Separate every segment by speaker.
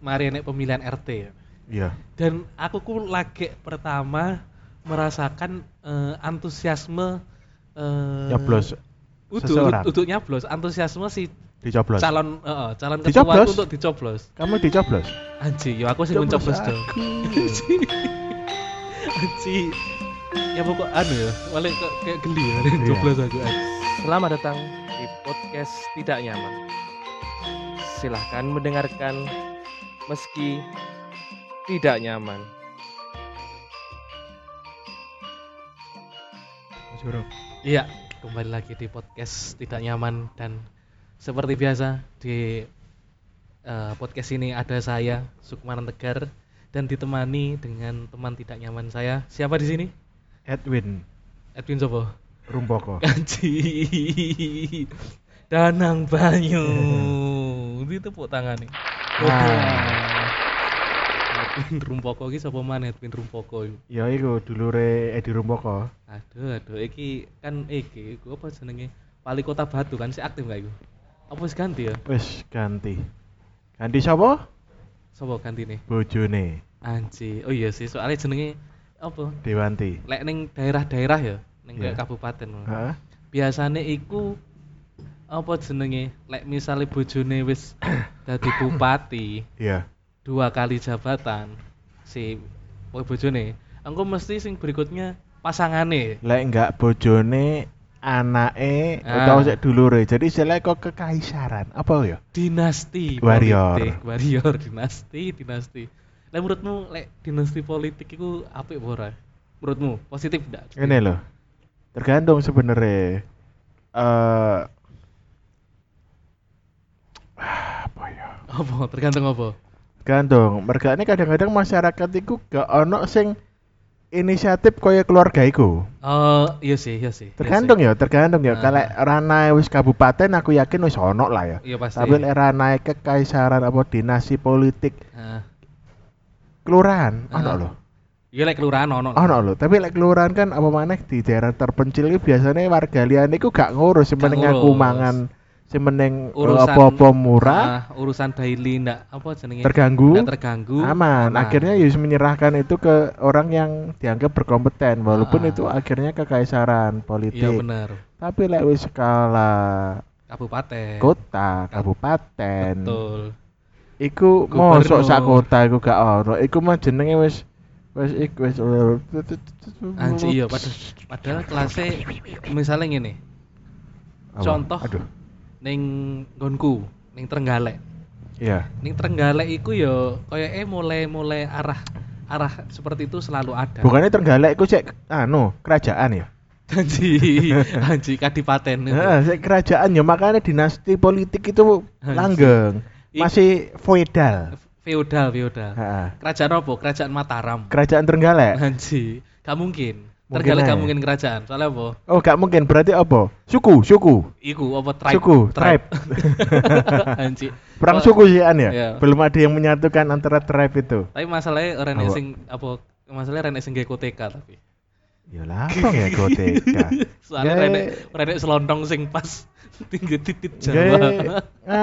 Speaker 1: mari nek pemilihan RT ya.
Speaker 2: Iya.
Speaker 1: Dan aku ku lagi pertama merasakan eh, antusiasme eh
Speaker 2: Nyoblos
Speaker 1: Udu,
Speaker 2: seseorang.
Speaker 1: udu nyoblos, antusiasme si
Speaker 2: Dicoblos.
Speaker 1: calon eh, eh, calon
Speaker 2: Dicoblos?
Speaker 1: ketua untuk dicoblos.
Speaker 2: Kamu dicoblos.
Speaker 1: Anji, yo aku sing mencoblos dong.
Speaker 2: ah.
Speaker 1: Anji. Anji. Ya pokok anu ya, wale kok kayak geli ya,
Speaker 2: Iya.
Speaker 1: coblos aku.
Speaker 3: Selamat datang di podcast Tidak Nyaman. Silahkan mendengarkan meski tidak nyaman.
Speaker 2: Mas Guru.
Speaker 1: Iya, kembali lagi di podcast tidak nyaman dan seperti biasa di eh, podcast ini ada saya Sukmanan Tegar dan ditemani dengan teman tidak nyaman saya. Siapa di sini?
Speaker 2: Edwin
Speaker 1: Edwin Sopo.
Speaker 2: Rumpoko.
Speaker 1: Kanji. Danang Banyu. Di tepuk tangan nih. Edwin Rumpoko iki sapa maneh Edwin Rumpoko iki?
Speaker 2: ya iku dulure Edi Rumpoko.
Speaker 1: Aduh, aduh, iki kan iki iku apa jenenge? Wali Kota Batu kan si aktif gak iku? Apa wis ganti ya?
Speaker 2: Wis ganti. Ganti sapa?
Speaker 1: Sopo gantine?
Speaker 2: Bojone
Speaker 1: Anji. Oh iya sih, soalnya jenenge apa?
Speaker 2: Dewanti.
Speaker 1: Lek ning daerah-daerah ya, ning kayak
Speaker 2: Iya.
Speaker 1: kabupaten.
Speaker 2: Heeh.
Speaker 1: biasane iku apa jenenge lek misale bojone wis dadi bupati
Speaker 2: Iya.
Speaker 1: dua kali jabatan si woy bojone engko mesti sing berikutnya pasangane
Speaker 2: Lek enggak bojone anake
Speaker 1: Ah.
Speaker 2: utawa sik dulure. Jadi sile kok kekaisaran. Apa ya?
Speaker 1: dinasti
Speaker 2: Warrior.
Speaker 1: politik. warrior dinasti dinasti lek menurutmu lek dinasti politik iku apik apa ora menurutmu positif ndak
Speaker 2: Ini loh. Tergantung sebenarnya. Eh apa ya?
Speaker 1: apa tergantung apa
Speaker 2: Gantung. Mergane kadang-kadang masyarakat iku gak ono sing inisiatif kaya keluarga iku.
Speaker 1: oh iya sih iya sih iya sih.
Speaker 2: Tergantung ya, tergantung ya.
Speaker 1: Ah.
Speaker 2: Kalau ranai wis kabupaten aku yakin wis ono lah ya.
Speaker 1: iya pasti
Speaker 2: Tapi lek ranai kekaisaran apa dinasti politik
Speaker 1: Heeh.
Speaker 2: kelurahan ono
Speaker 1: Ah.
Speaker 2: loh.
Speaker 1: iya lek kelurahan ono
Speaker 2: Ono loh. Tapi lek kelurahan kan apa maneh di daerah terpencil iki biasanya warga liyane iku gak ngurus sing
Speaker 1: Gak
Speaker 2: penting aku
Speaker 1: ngurus.
Speaker 2: mangan sing penting eh,
Speaker 1: Urusan-
Speaker 2: apa-apa murah
Speaker 1: Ah, urusan daily ndak apa jenenge
Speaker 2: terganggu.
Speaker 1: Nggak terganggu
Speaker 2: aman. Akhirnya ya Yus menyerahkan itu ke orang yang dianggap berkompeten, walaupun
Speaker 1: Ah.
Speaker 2: itu akhirnya kekaisaran
Speaker 1: iya
Speaker 2: politik.
Speaker 1: benar
Speaker 2: Tapi lek wis skala
Speaker 1: kabupaten
Speaker 2: kota, kabupaten,
Speaker 1: Eh. betul
Speaker 2: iku
Speaker 1: Gubernur.
Speaker 2: mosok sak kota iku gak ono. Iku mah jenenge wis wis iku wis
Speaker 1: anjir iya padahal, padahal kelasnya misalnya ngene
Speaker 2: Apa?
Speaker 1: contoh.
Speaker 2: Aduh.
Speaker 1: ning gonku ning Trenggalek
Speaker 2: Iya.
Speaker 1: ning Trenggalek iku yo koyoke mulai-mulai arah arah seperti itu selalu ada
Speaker 2: Bukannya Trenggalek iku cek anu, kerajaan ya.
Speaker 1: anji anji kadipaten itu.
Speaker 2: Heeh, sik kerajaan ya makanya dinasti politik itu
Speaker 1: Anjing.
Speaker 2: langgeng.
Speaker 1: Ik-
Speaker 2: Masih feodal.
Speaker 1: feodal feodal
Speaker 2: Heeh.
Speaker 1: kerajaan apa kerajaan Mataram
Speaker 2: Kerajaan Trenggalek.
Speaker 1: anji gak mungkin
Speaker 2: Mungkin
Speaker 1: Trenggalek gak
Speaker 2: ae.
Speaker 1: mungkin kerajaan soalnya apa
Speaker 2: Oh, gak mungkin. Berarti apa? Suku, suku.
Speaker 1: iku apa tribe
Speaker 2: Suku, tribe.
Speaker 1: anji
Speaker 2: Perang
Speaker 1: Kalau-
Speaker 2: suku sih an ya.
Speaker 1: Iya.
Speaker 2: Belum ada yang menyatukan antara tribe itu.
Speaker 1: Tapi masalahnya orang
Speaker 2: Apa?
Speaker 1: sing apa masalahnya orang sing gak ikut TK tapi.
Speaker 2: Ya lapang ya goteka.
Speaker 1: Soalnya
Speaker 2: Gaya-
Speaker 1: orang orang selontong sing pas tinggi titik
Speaker 2: Gaya
Speaker 1: Jawa.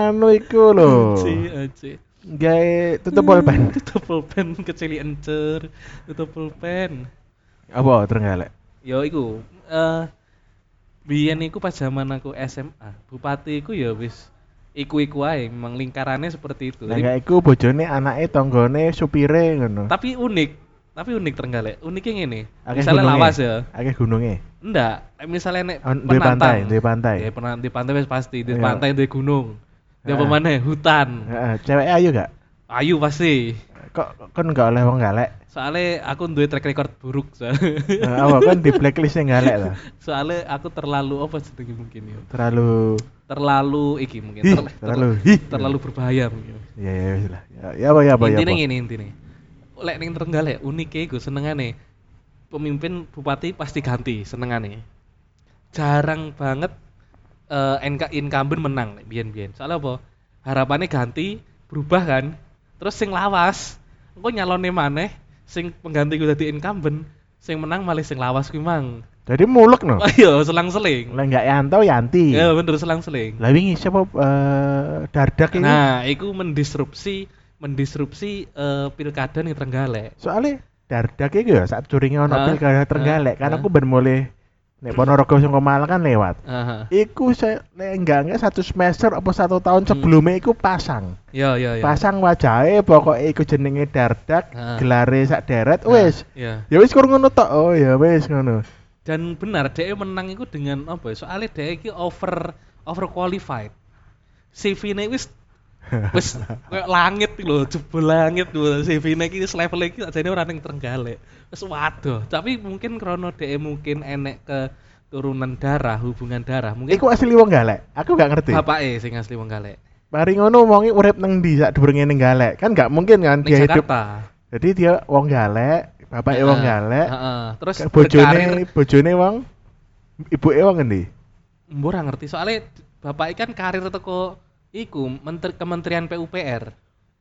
Speaker 2: anu iku lho.
Speaker 1: Aci, aci.
Speaker 2: Gae tutup pulpen.
Speaker 1: Tutup pulpen kecil encer, tutup pulpen.
Speaker 2: Apa Trenggalek?
Speaker 1: Yo iku eh biyen iku pas zaman aku SMA, bupati iku ya wis iku-iku ae memang lingkarannya seperti itu.
Speaker 2: Lah gitu.
Speaker 1: Jadi-
Speaker 2: gak iku bojone anake tanggane supire ngono.
Speaker 1: tapi unik, tapi unik Trenggalek. Uniknya ngene.
Speaker 2: Akeh
Speaker 1: Misalnya
Speaker 2: gununge.
Speaker 1: lawas ya.
Speaker 2: Akeh gununge.
Speaker 1: Enggak, misalnya nek
Speaker 2: Oh, duwe pantai, duwe pantai.
Speaker 1: Ya, pernah di pantai wis pasti, di
Speaker 2: Iya.
Speaker 1: pantai di gunung. Di apa
Speaker 2: Heeh.
Speaker 1: maneh hutan.
Speaker 2: Heeh, ceweke ayu gak?
Speaker 1: Ayu pasti.
Speaker 2: Kok kon gak oleh wong galek?
Speaker 1: Soalnya aku duwe track record buruk soalnya.
Speaker 2: Eh, Apa kon di blacklist sing galek ta?
Speaker 1: soalnya aku terlalu apa jenenge mungkin ya.
Speaker 2: Terlalu
Speaker 1: Terlalu iki mungkin
Speaker 2: Hi,
Speaker 1: terla-
Speaker 2: terlalu
Speaker 1: terla-
Speaker 2: hi.
Speaker 1: terlalu berbahaya mungkin.
Speaker 2: ya ya wis lah. Ya, Ya apa ya apa ya.
Speaker 1: intinya
Speaker 2: apa.
Speaker 1: ngene intine. Lek ning Trenggalek unike iku senengane pemimpin bupati pasti ganti senengane. Jarang banget eh NK incumbent menang lek biyen-biyen. Soalnya apa? Harapannya ganti berubah kan. Terus sing lawas, engko nyalonne maneh sing pengganti kuwi dadi incumbent, sing menang malah sing lawas kuwi mang.
Speaker 2: Jadi mulek no.
Speaker 1: Ayo selang-seling.
Speaker 2: Lah ya, gak yanto yanti.
Speaker 1: Ya bener selang-seling.
Speaker 2: Lah wingi sapa eh, Dardak ini?
Speaker 1: Nah, iku Nah, mendisrupsi mendisrupsi eh, pilkada nih Trenggalek.
Speaker 2: Soalnya dardak iki ya saat curinge ono
Speaker 1: Hah?
Speaker 2: pilkada Trenggalek
Speaker 1: Hah?
Speaker 2: karena aku ben mulai nek Ponorogo sing Malang kan lewat.
Speaker 1: Aha.
Speaker 2: Iku saya nek enggak enggak satu semester apa satu tahun
Speaker 1: Hmm.
Speaker 2: sebelumnya iku pasang.
Speaker 1: Ya ya ya.
Speaker 2: Pasang wajahe pokoknya iku jenenge dardak,
Speaker 1: Hah.
Speaker 2: gelare sak deret
Speaker 1: Nah,
Speaker 2: wis.
Speaker 1: Ya.
Speaker 2: Ya wis kur ngono tok. Oh ya wis ngono.
Speaker 1: Dan benar DE menang itu dengan apa ya? Soalnya DE iki over over qualified. CV-ne wis wis kayak langit lho, jebol langit lho CV-ne iki wis level iki jadi ora ning Trenggalek. Wis waduh, tapi mungkin krono DE mungkin enek ke turunan darah, hubungan darah. Mungkin
Speaker 2: Iku asli wong Galek. Aku gak ngerti.
Speaker 1: bapake sing asli wong Galek.
Speaker 2: Mari ngono wonge urip neng ndi sak durunge ning Galek. Kan gak mungkin kan
Speaker 1: Ning
Speaker 2: dia hidup.
Speaker 1: Jakarta.
Speaker 2: Jadi dia wong Galek, bapake wong
Speaker 1: Heeh,
Speaker 2: Galek,
Speaker 1: heeh. Terus
Speaker 2: Kayak bojone
Speaker 1: berkarir
Speaker 2: bojone wong ibuke wong ngendi?
Speaker 1: Mbok ora ngerti soalnya bapak ikan karir teko iku menteri Kementerian PUPR.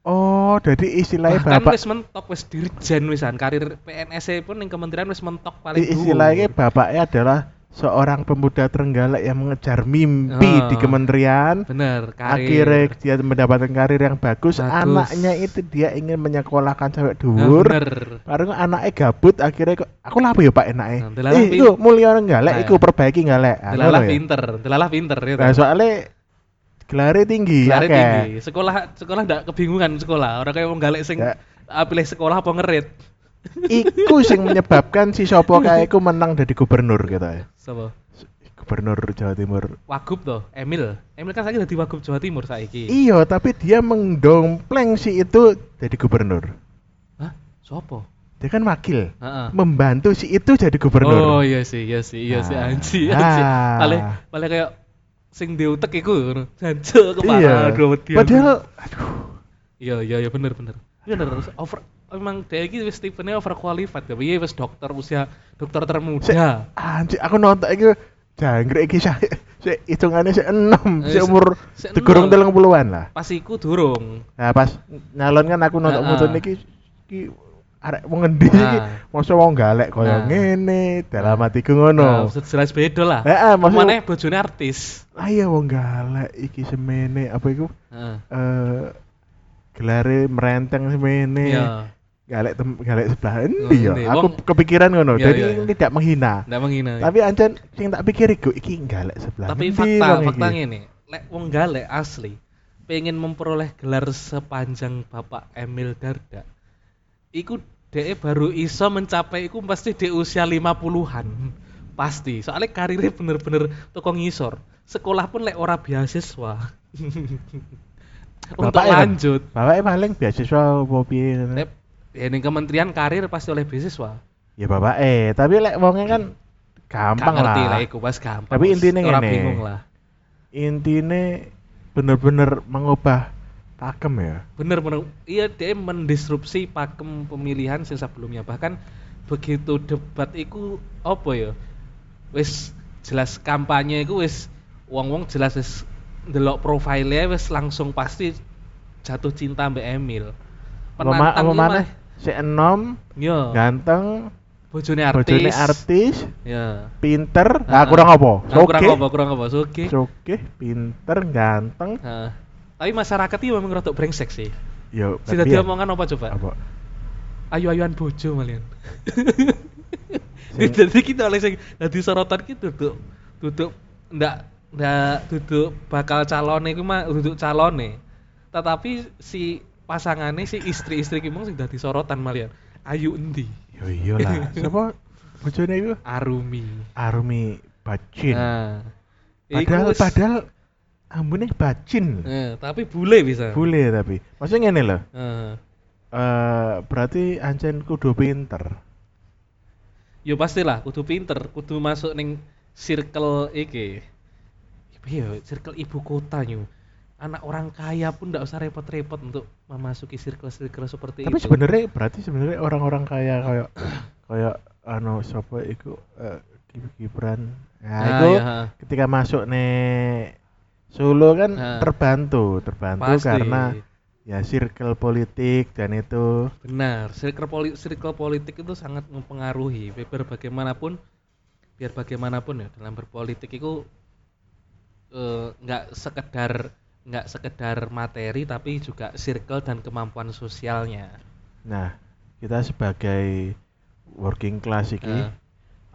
Speaker 2: Oh, jadi istilahnya
Speaker 1: Bahkan
Speaker 2: bapak
Speaker 1: wis mentok wis dirjen wisan karir PNS pun ning kementerian wis mentok paling
Speaker 2: i-
Speaker 1: dhuwur.
Speaker 2: istilahnya bapaknya adalah seorang pemuda Trenggalek yang mengejar mimpi
Speaker 1: Ah.
Speaker 2: di kementerian.
Speaker 1: bener karir.
Speaker 2: Akhirnya dia mendapatkan karir yang bagus.
Speaker 1: Bagus.
Speaker 2: Anaknya itu dia ingin menyekolahkan sampai
Speaker 1: Nah,
Speaker 2: dhuwur.
Speaker 1: bener.
Speaker 2: Baru anaknya gabut akhirnya kok aku lapo ya Pak enake.
Speaker 1: Nah, delalah
Speaker 2: Eh,
Speaker 1: pin-
Speaker 2: iku mulia orang galak,
Speaker 1: Nah,
Speaker 2: iku perbaiki galak. Ah,
Speaker 1: Delalah
Speaker 2: ngono ya.
Speaker 1: pinter, delalah pinter ya.
Speaker 2: Nah, soalnya gelarnya tinggi,
Speaker 1: Gelarnya
Speaker 2: akeh.
Speaker 1: tinggi. Sekolah sekolah ndak kebingungan sekolah. Orang kayak wong galek sing
Speaker 2: Ya.
Speaker 1: ah, pilih sekolah apa ngerit.
Speaker 2: Iku sing menyebabkan si Sopo kae iku menang dari gubernur gitu ya.
Speaker 1: Sapa?
Speaker 2: Gubernur Jawa Timur.
Speaker 1: Wagub toh, Emil. Emil kan saiki dadi Wagub Jawa Timur saiki.
Speaker 2: Iya, tapi dia mengdompleng si itu jadi gubernur.
Speaker 1: Hah? Sopo?
Speaker 2: Dia kan wakil.
Speaker 1: Heeh.
Speaker 2: Membantu si itu jadi
Speaker 1: Oh
Speaker 2: gubernur.
Speaker 1: iya sih, iya sih, iya sih
Speaker 2: Ah.
Speaker 1: anji, anji.
Speaker 2: Ah.
Speaker 1: Paling paling kayak sing diutek iku jancuk kepala
Speaker 2: iya.
Speaker 1: aduh wedi aku.
Speaker 2: Padahal aduh,
Speaker 1: iya iya iya bener bener. Bener over emang dia iki wis tipene over qualified ya. Piye wis dokter usia dokter
Speaker 2: sik,
Speaker 1: termuda.
Speaker 2: anjir, aku nonton iki jangkrik iki saya saya hitungannya saya enam,
Speaker 1: Eh,
Speaker 2: saya
Speaker 1: sik-
Speaker 2: umur
Speaker 1: sik
Speaker 2: digurung
Speaker 1: enom.
Speaker 2: telung puluhan lah.
Speaker 1: Pas iku durung.
Speaker 2: Nah pas nyalon kan aku nonton
Speaker 1: Ah,
Speaker 2: foto
Speaker 1: ah.
Speaker 2: niki iki arek wong ngendi iki?
Speaker 1: Ah.
Speaker 2: Mosok wong galek
Speaker 1: Ah.
Speaker 2: kaya ngene, dalam
Speaker 1: Ah.
Speaker 2: atiku ngono. Eh,
Speaker 1: Nah, jelas beda lah.
Speaker 2: Heeh, maksudnya-
Speaker 1: Mana bojone artis.
Speaker 2: Ayo iya, wong galek iki semene apa iku?
Speaker 1: Heeh.
Speaker 2: eh gelare merenteng semene.
Speaker 1: Iya.
Speaker 2: Galek tem galek sebelah
Speaker 1: Oh,
Speaker 2: endi ya?
Speaker 1: endi.
Speaker 2: Aku
Speaker 1: Wong-
Speaker 2: kepikiran ngono.
Speaker 1: Iya,
Speaker 2: Jadi
Speaker 1: iya, iya.
Speaker 2: tidak menghina.
Speaker 1: Ndak menghina.
Speaker 2: Tapi ancen sing tak pikir iku iki galek sebelah.
Speaker 1: Tapi
Speaker 2: endi
Speaker 1: fakta
Speaker 2: wong
Speaker 1: fakta
Speaker 2: iki?
Speaker 1: ngene, lek wong galek asli pengen memperoleh gelar sepanjang Bapak Emil Dardak. Iku DE baru iso mencapai iku pasti di usia 50-an. Pasti. Soalnya karirnya bener-bener tukang ngisor. Sekolah pun lek ora beasiswa. Untuk
Speaker 2: Bapaknya kan?
Speaker 1: lanjut.
Speaker 2: Bapaknya paling beasiswa opo piye ngono.
Speaker 1: Lek ya ning kementerian karir pasti oleh beasiswa.
Speaker 2: Ya bapaknya, tapi lek wonge kan gampang
Speaker 1: Gak ngerti lah
Speaker 2: lah.
Speaker 1: iku pas gampang.
Speaker 2: Tapi
Speaker 1: Mas.
Speaker 2: intinya
Speaker 1: Ora
Speaker 2: ngene.
Speaker 1: bingung lah.
Speaker 2: Intine bener-bener mengubah pakem ya.
Speaker 1: bener bener iya dia mendisrupsi pakem pemilihan sing sebelumnya bahkan begitu debat iku apa ya wis jelas kampanye iku wis wong-wong jelas wis ndelok profile wis langsung pasti jatuh cinta mbak Emil penantang
Speaker 2: Pema- apa
Speaker 1: iku
Speaker 2: maneh?
Speaker 1: mah-
Speaker 2: Si enom
Speaker 1: yo
Speaker 2: ganteng,
Speaker 1: bojone artis
Speaker 2: bojone artis,
Speaker 1: yo
Speaker 2: pinter,
Speaker 1: Ah,
Speaker 2: ah kurang apa?
Speaker 1: Nah, kurang
Speaker 2: Sogeh.
Speaker 1: apa kurang apa so, oke
Speaker 2: Oke, pinter, ganteng.
Speaker 1: Heeh. tapi masyarakat iki memang rotok brengsek sih
Speaker 2: Yo,
Speaker 1: sudah
Speaker 2: tapi ya,
Speaker 1: diomongan apa coba
Speaker 2: apa?
Speaker 1: ayu-ayuan bojo malian. Hmm.
Speaker 2: Sing-
Speaker 1: Jadi kita oleh sing dadi sorotan ki duduk duduk ndak ndak duduk bakal calone iku mah duduk calone. Tetapi si pasangannya si istri-istri ki mung sing dadi sorotan malian. Ayu endi?
Speaker 2: Yo iya lah. Siapa bojone iku?
Speaker 1: Arumi.
Speaker 2: Army Bacin.
Speaker 1: Nah. iku
Speaker 2: padahal
Speaker 1: wis-
Speaker 2: padahal ambune Bacin. lho.
Speaker 1: Eh, tapi bule bisa.
Speaker 2: Boleh tapi. Maksudnya ngene loh.
Speaker 1: Eh.
Speaker 2: Eh berarti ancen kudu pinter.
Speaker 1: Yo pastilah kudu pinter, kudu masuk ning circle iki. Iya, circle ibu kota nyu. Anak orang kaya pun ndak usah repot-repot untuk memasuki circle-circle seperti
Speaker 2: Tapi
Speaker 1: itu.
Speaker 2: sebenarnya berarti sebenarnya orang-orang kaya kayak kayak anu sapa iku eh, Ki- Gibran. Nah,
Speaker 1: Ah,
Speaker 2: itu
Speaker 1: iya, ha.
Speaker 2: ketika masuk nih Solo kan
Speaker 1: Ah.
Speaker 2: terbantu, terbantu
Speaker 1: Pasti.
Speaker 2: karena ya circle politik dan itu
Speaker 1: benar, circle poli- circle politik itu sangat mempengaruhi. Biar bagaimanapun biar bagaimanapun ya dalam berpolitik itu eh, nggak sekedar nggak sekedar materi tapi juga circle dan kemampuan sosialnya.
Speaker 2: Nah, kita sebagai working class iki,
Speaker 1: Eh.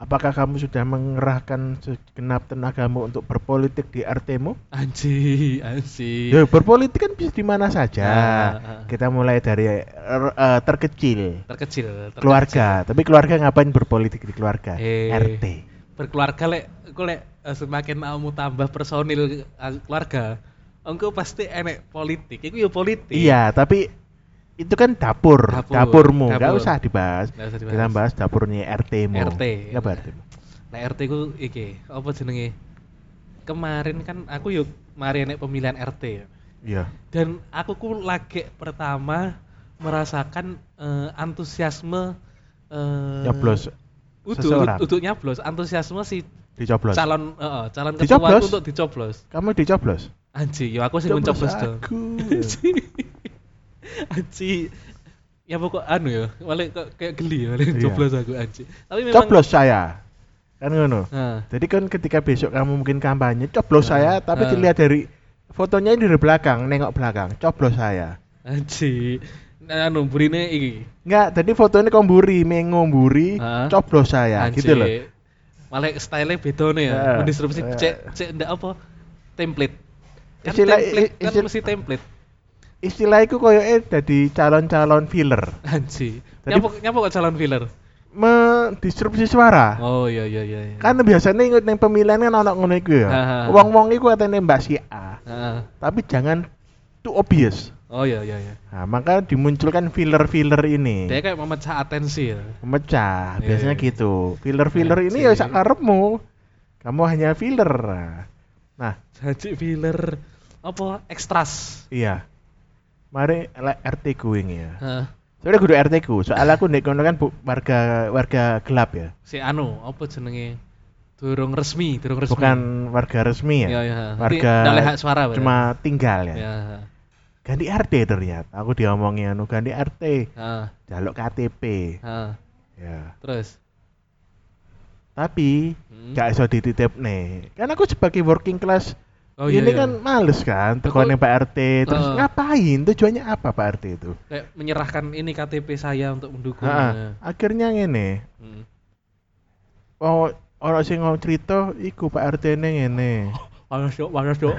Speaker 2: apakah kamu sudah mengerahkan segenap tenagamu untuk berpolitik di RT-mu?
Speaker 1: Anji, anji.
Speaker 2: Ya, berpolitik kan bisa di mana saja.
Speaker 1: Ah, ah.
Speaker 2: Kita mulai dari er, eh, terkecil,
Speaker 1: Terkecil, terkecil.
Speaker 2: keluarga. Tapi keluarga ngapain berpolitik di keluarga?
Speaker 1: Eh.
Speaker 2: RT.
Speaker 1: Berkeluarga lek engko lek eh, semakin kamu tambah personil eh, keluarga, engko pasti enek politik. Iku ya politik.
Speaker 2: Iya, tapi itu kan dapur,
Speaker 1: Dapur,
Speaker 2: dapurmu, nggak
Speaker 1: dapur.
Speaker 2: usah dibahas.
Speaker 1: Nggak usah dibahas.
Speaker 2: Kita bahas dapurnya RT-mu.
Speaker 1: RT.
Speaker 2: Apa RT-mu?
Speaker 1: Nah, RT ku iki, apa jenenge? Kemarin kan aku yuk mari enek pemilihan RT.
Speaker 2: Iya.
Speaker 1: Dan aku ku lagi pertama merasakan eh, antusiasme eh
Speaker 2: Nyoblos
Speaker 1: Udu,
Speaker 2: seseorang.
Speaker 1: udu nyoblos, antusiasme si
Speaker 2: dicoblos.
Speaker 1: calon eh, calon ketua
Speaker 2: Dicoblos?
Speaker 1: itu untuk dicoblos.
Speaker 2: Kamu dicoblos?
Speaker 1: Anji, yo aku sih mencoblos dong.
Speaker 2: aku.
Speaker 1: Anji. Ya pokok anu ya, wale kok kayak geli ya, wale
Speaker 2: Iya.
Speaker 1: coblos aku anji. Tapi memang
Speaker 2: coblos saya. Kan ngono.
Speaker 1: Nah,
Speaker 2: Jadi kan ketika besok kamu mungkin kampanye, coblos saya,
Speaker 1: Ah, ah.
Speaker 2: tapi dilihat dari fotonya ini dari belakang, nengok belakang, coblos saya.
Speaker 1: anji. Nah, anu burine iki.
Speaker 2: Enggak, tadi fotonya komburi, mengo mburi,
Speaker 1: Ah.
Speaker 2: coblos saya,
Speaker 1: Anjir.
Speaker 2: gitu loh.
Speaker 1: Malah style-nya beda nih ya.
Speaker 2: Ya,
Speaker 1: Mendisrupsi
Speaker 2: ya.
Speaker 1: cek cek ndak apa? Template. Kan
Speaker 2: Istilah-
Speaker 1: template
Speaker 2: i-
Speaker 1: kan
Speaker 2: istilah-
Speaker 1: mesti template.
Speaker 2: Istilah itu koyoke dari calon-calon filler,
Speaker 1: Anji.
Speaker 2: Tadi-
Speaker 1: Nyapa nyapa kok calon filler?
Speaker 2: mendisrupsi suara.
Speaker 1: Oh iya iya iya. iya.
Speaker 2: Ah. Kan biasanya ikut neng pemilihan kan anak ngono iku ya.
Speaker 1: Ah, ah.
Speaker 2: Wong-wong iku katanya Mbak si A,
Speaker 1: Heeh.
Speaker 2: tapi jangan too obvious.
Speaker 1: Oh iya iya iya.
Speaker 2: Nah, maka dimunculkan filler-filler ini.
Speaker 1: Dia kayak memecah atensi ya.
Speaker 2: memecah
Speaker 1: Iya,
Speaker 2: biasanya
Speaker 1: iya.
Speaker 2: gitu filler filler ini ya
Speaker 1: Anjing.
Speaker 2: sak karepmu kamu hanya filler nah
Speaker 1: Haji filler apa ekstras?
Speaker 2: iya mari lek RT ku ini ya
Speaker 1: Heeh.
Speaker 2: sebenarnya kudu RT ku soalnya aku ndek kono kan bu- warga warga gelap ya
Speaker 1: si anu apa jenenge? Durung resmi, durung resmi.
Speaker 2: bukan warga resmi ya
Speaker 1: Iya, iya. Nanti ndak
Speaker 2: warga
Speaker 1: lehak suara, berarti.
Speaker 2: cuma tinggal ya
Speaker 1: ya.
Speaker 2: ganti RT ternyata aku diomongin anu ganti RT
Speaker 1: Heeh.
Speaker 2: jaluk KTP
Speaker 1: Heeh.
Speaker 2: ya
Speaker 1: Terus.
Speaker 2: tapi
Speaker 1: Hmm.
Speaker 2: gak iso dititip nih kan aku sebagai working class
Speaker 1: Oh, iya,
Speaker 2: ini
Speaker 1: iya.
Speaker 2: kan males kan,
Speaker 1: Aku-
Speaker 2: tekonin Pak RT, terus
Speaker 1: Heeh.
Speaker 2: ngapain? Tujuannya apa Pak RT itu?
Speaker 1: kayak menyerahkan ini KTP saya untuk mendukung. Ya,
Speaker 2: Heeh. Akhirnya ngene,
Speaker 1: Hmm.
Speaker 2: oh orang sing ngomong cerita, iku Pak RT ini ngene.
Speaker 1: Panas yuk, panas yuk.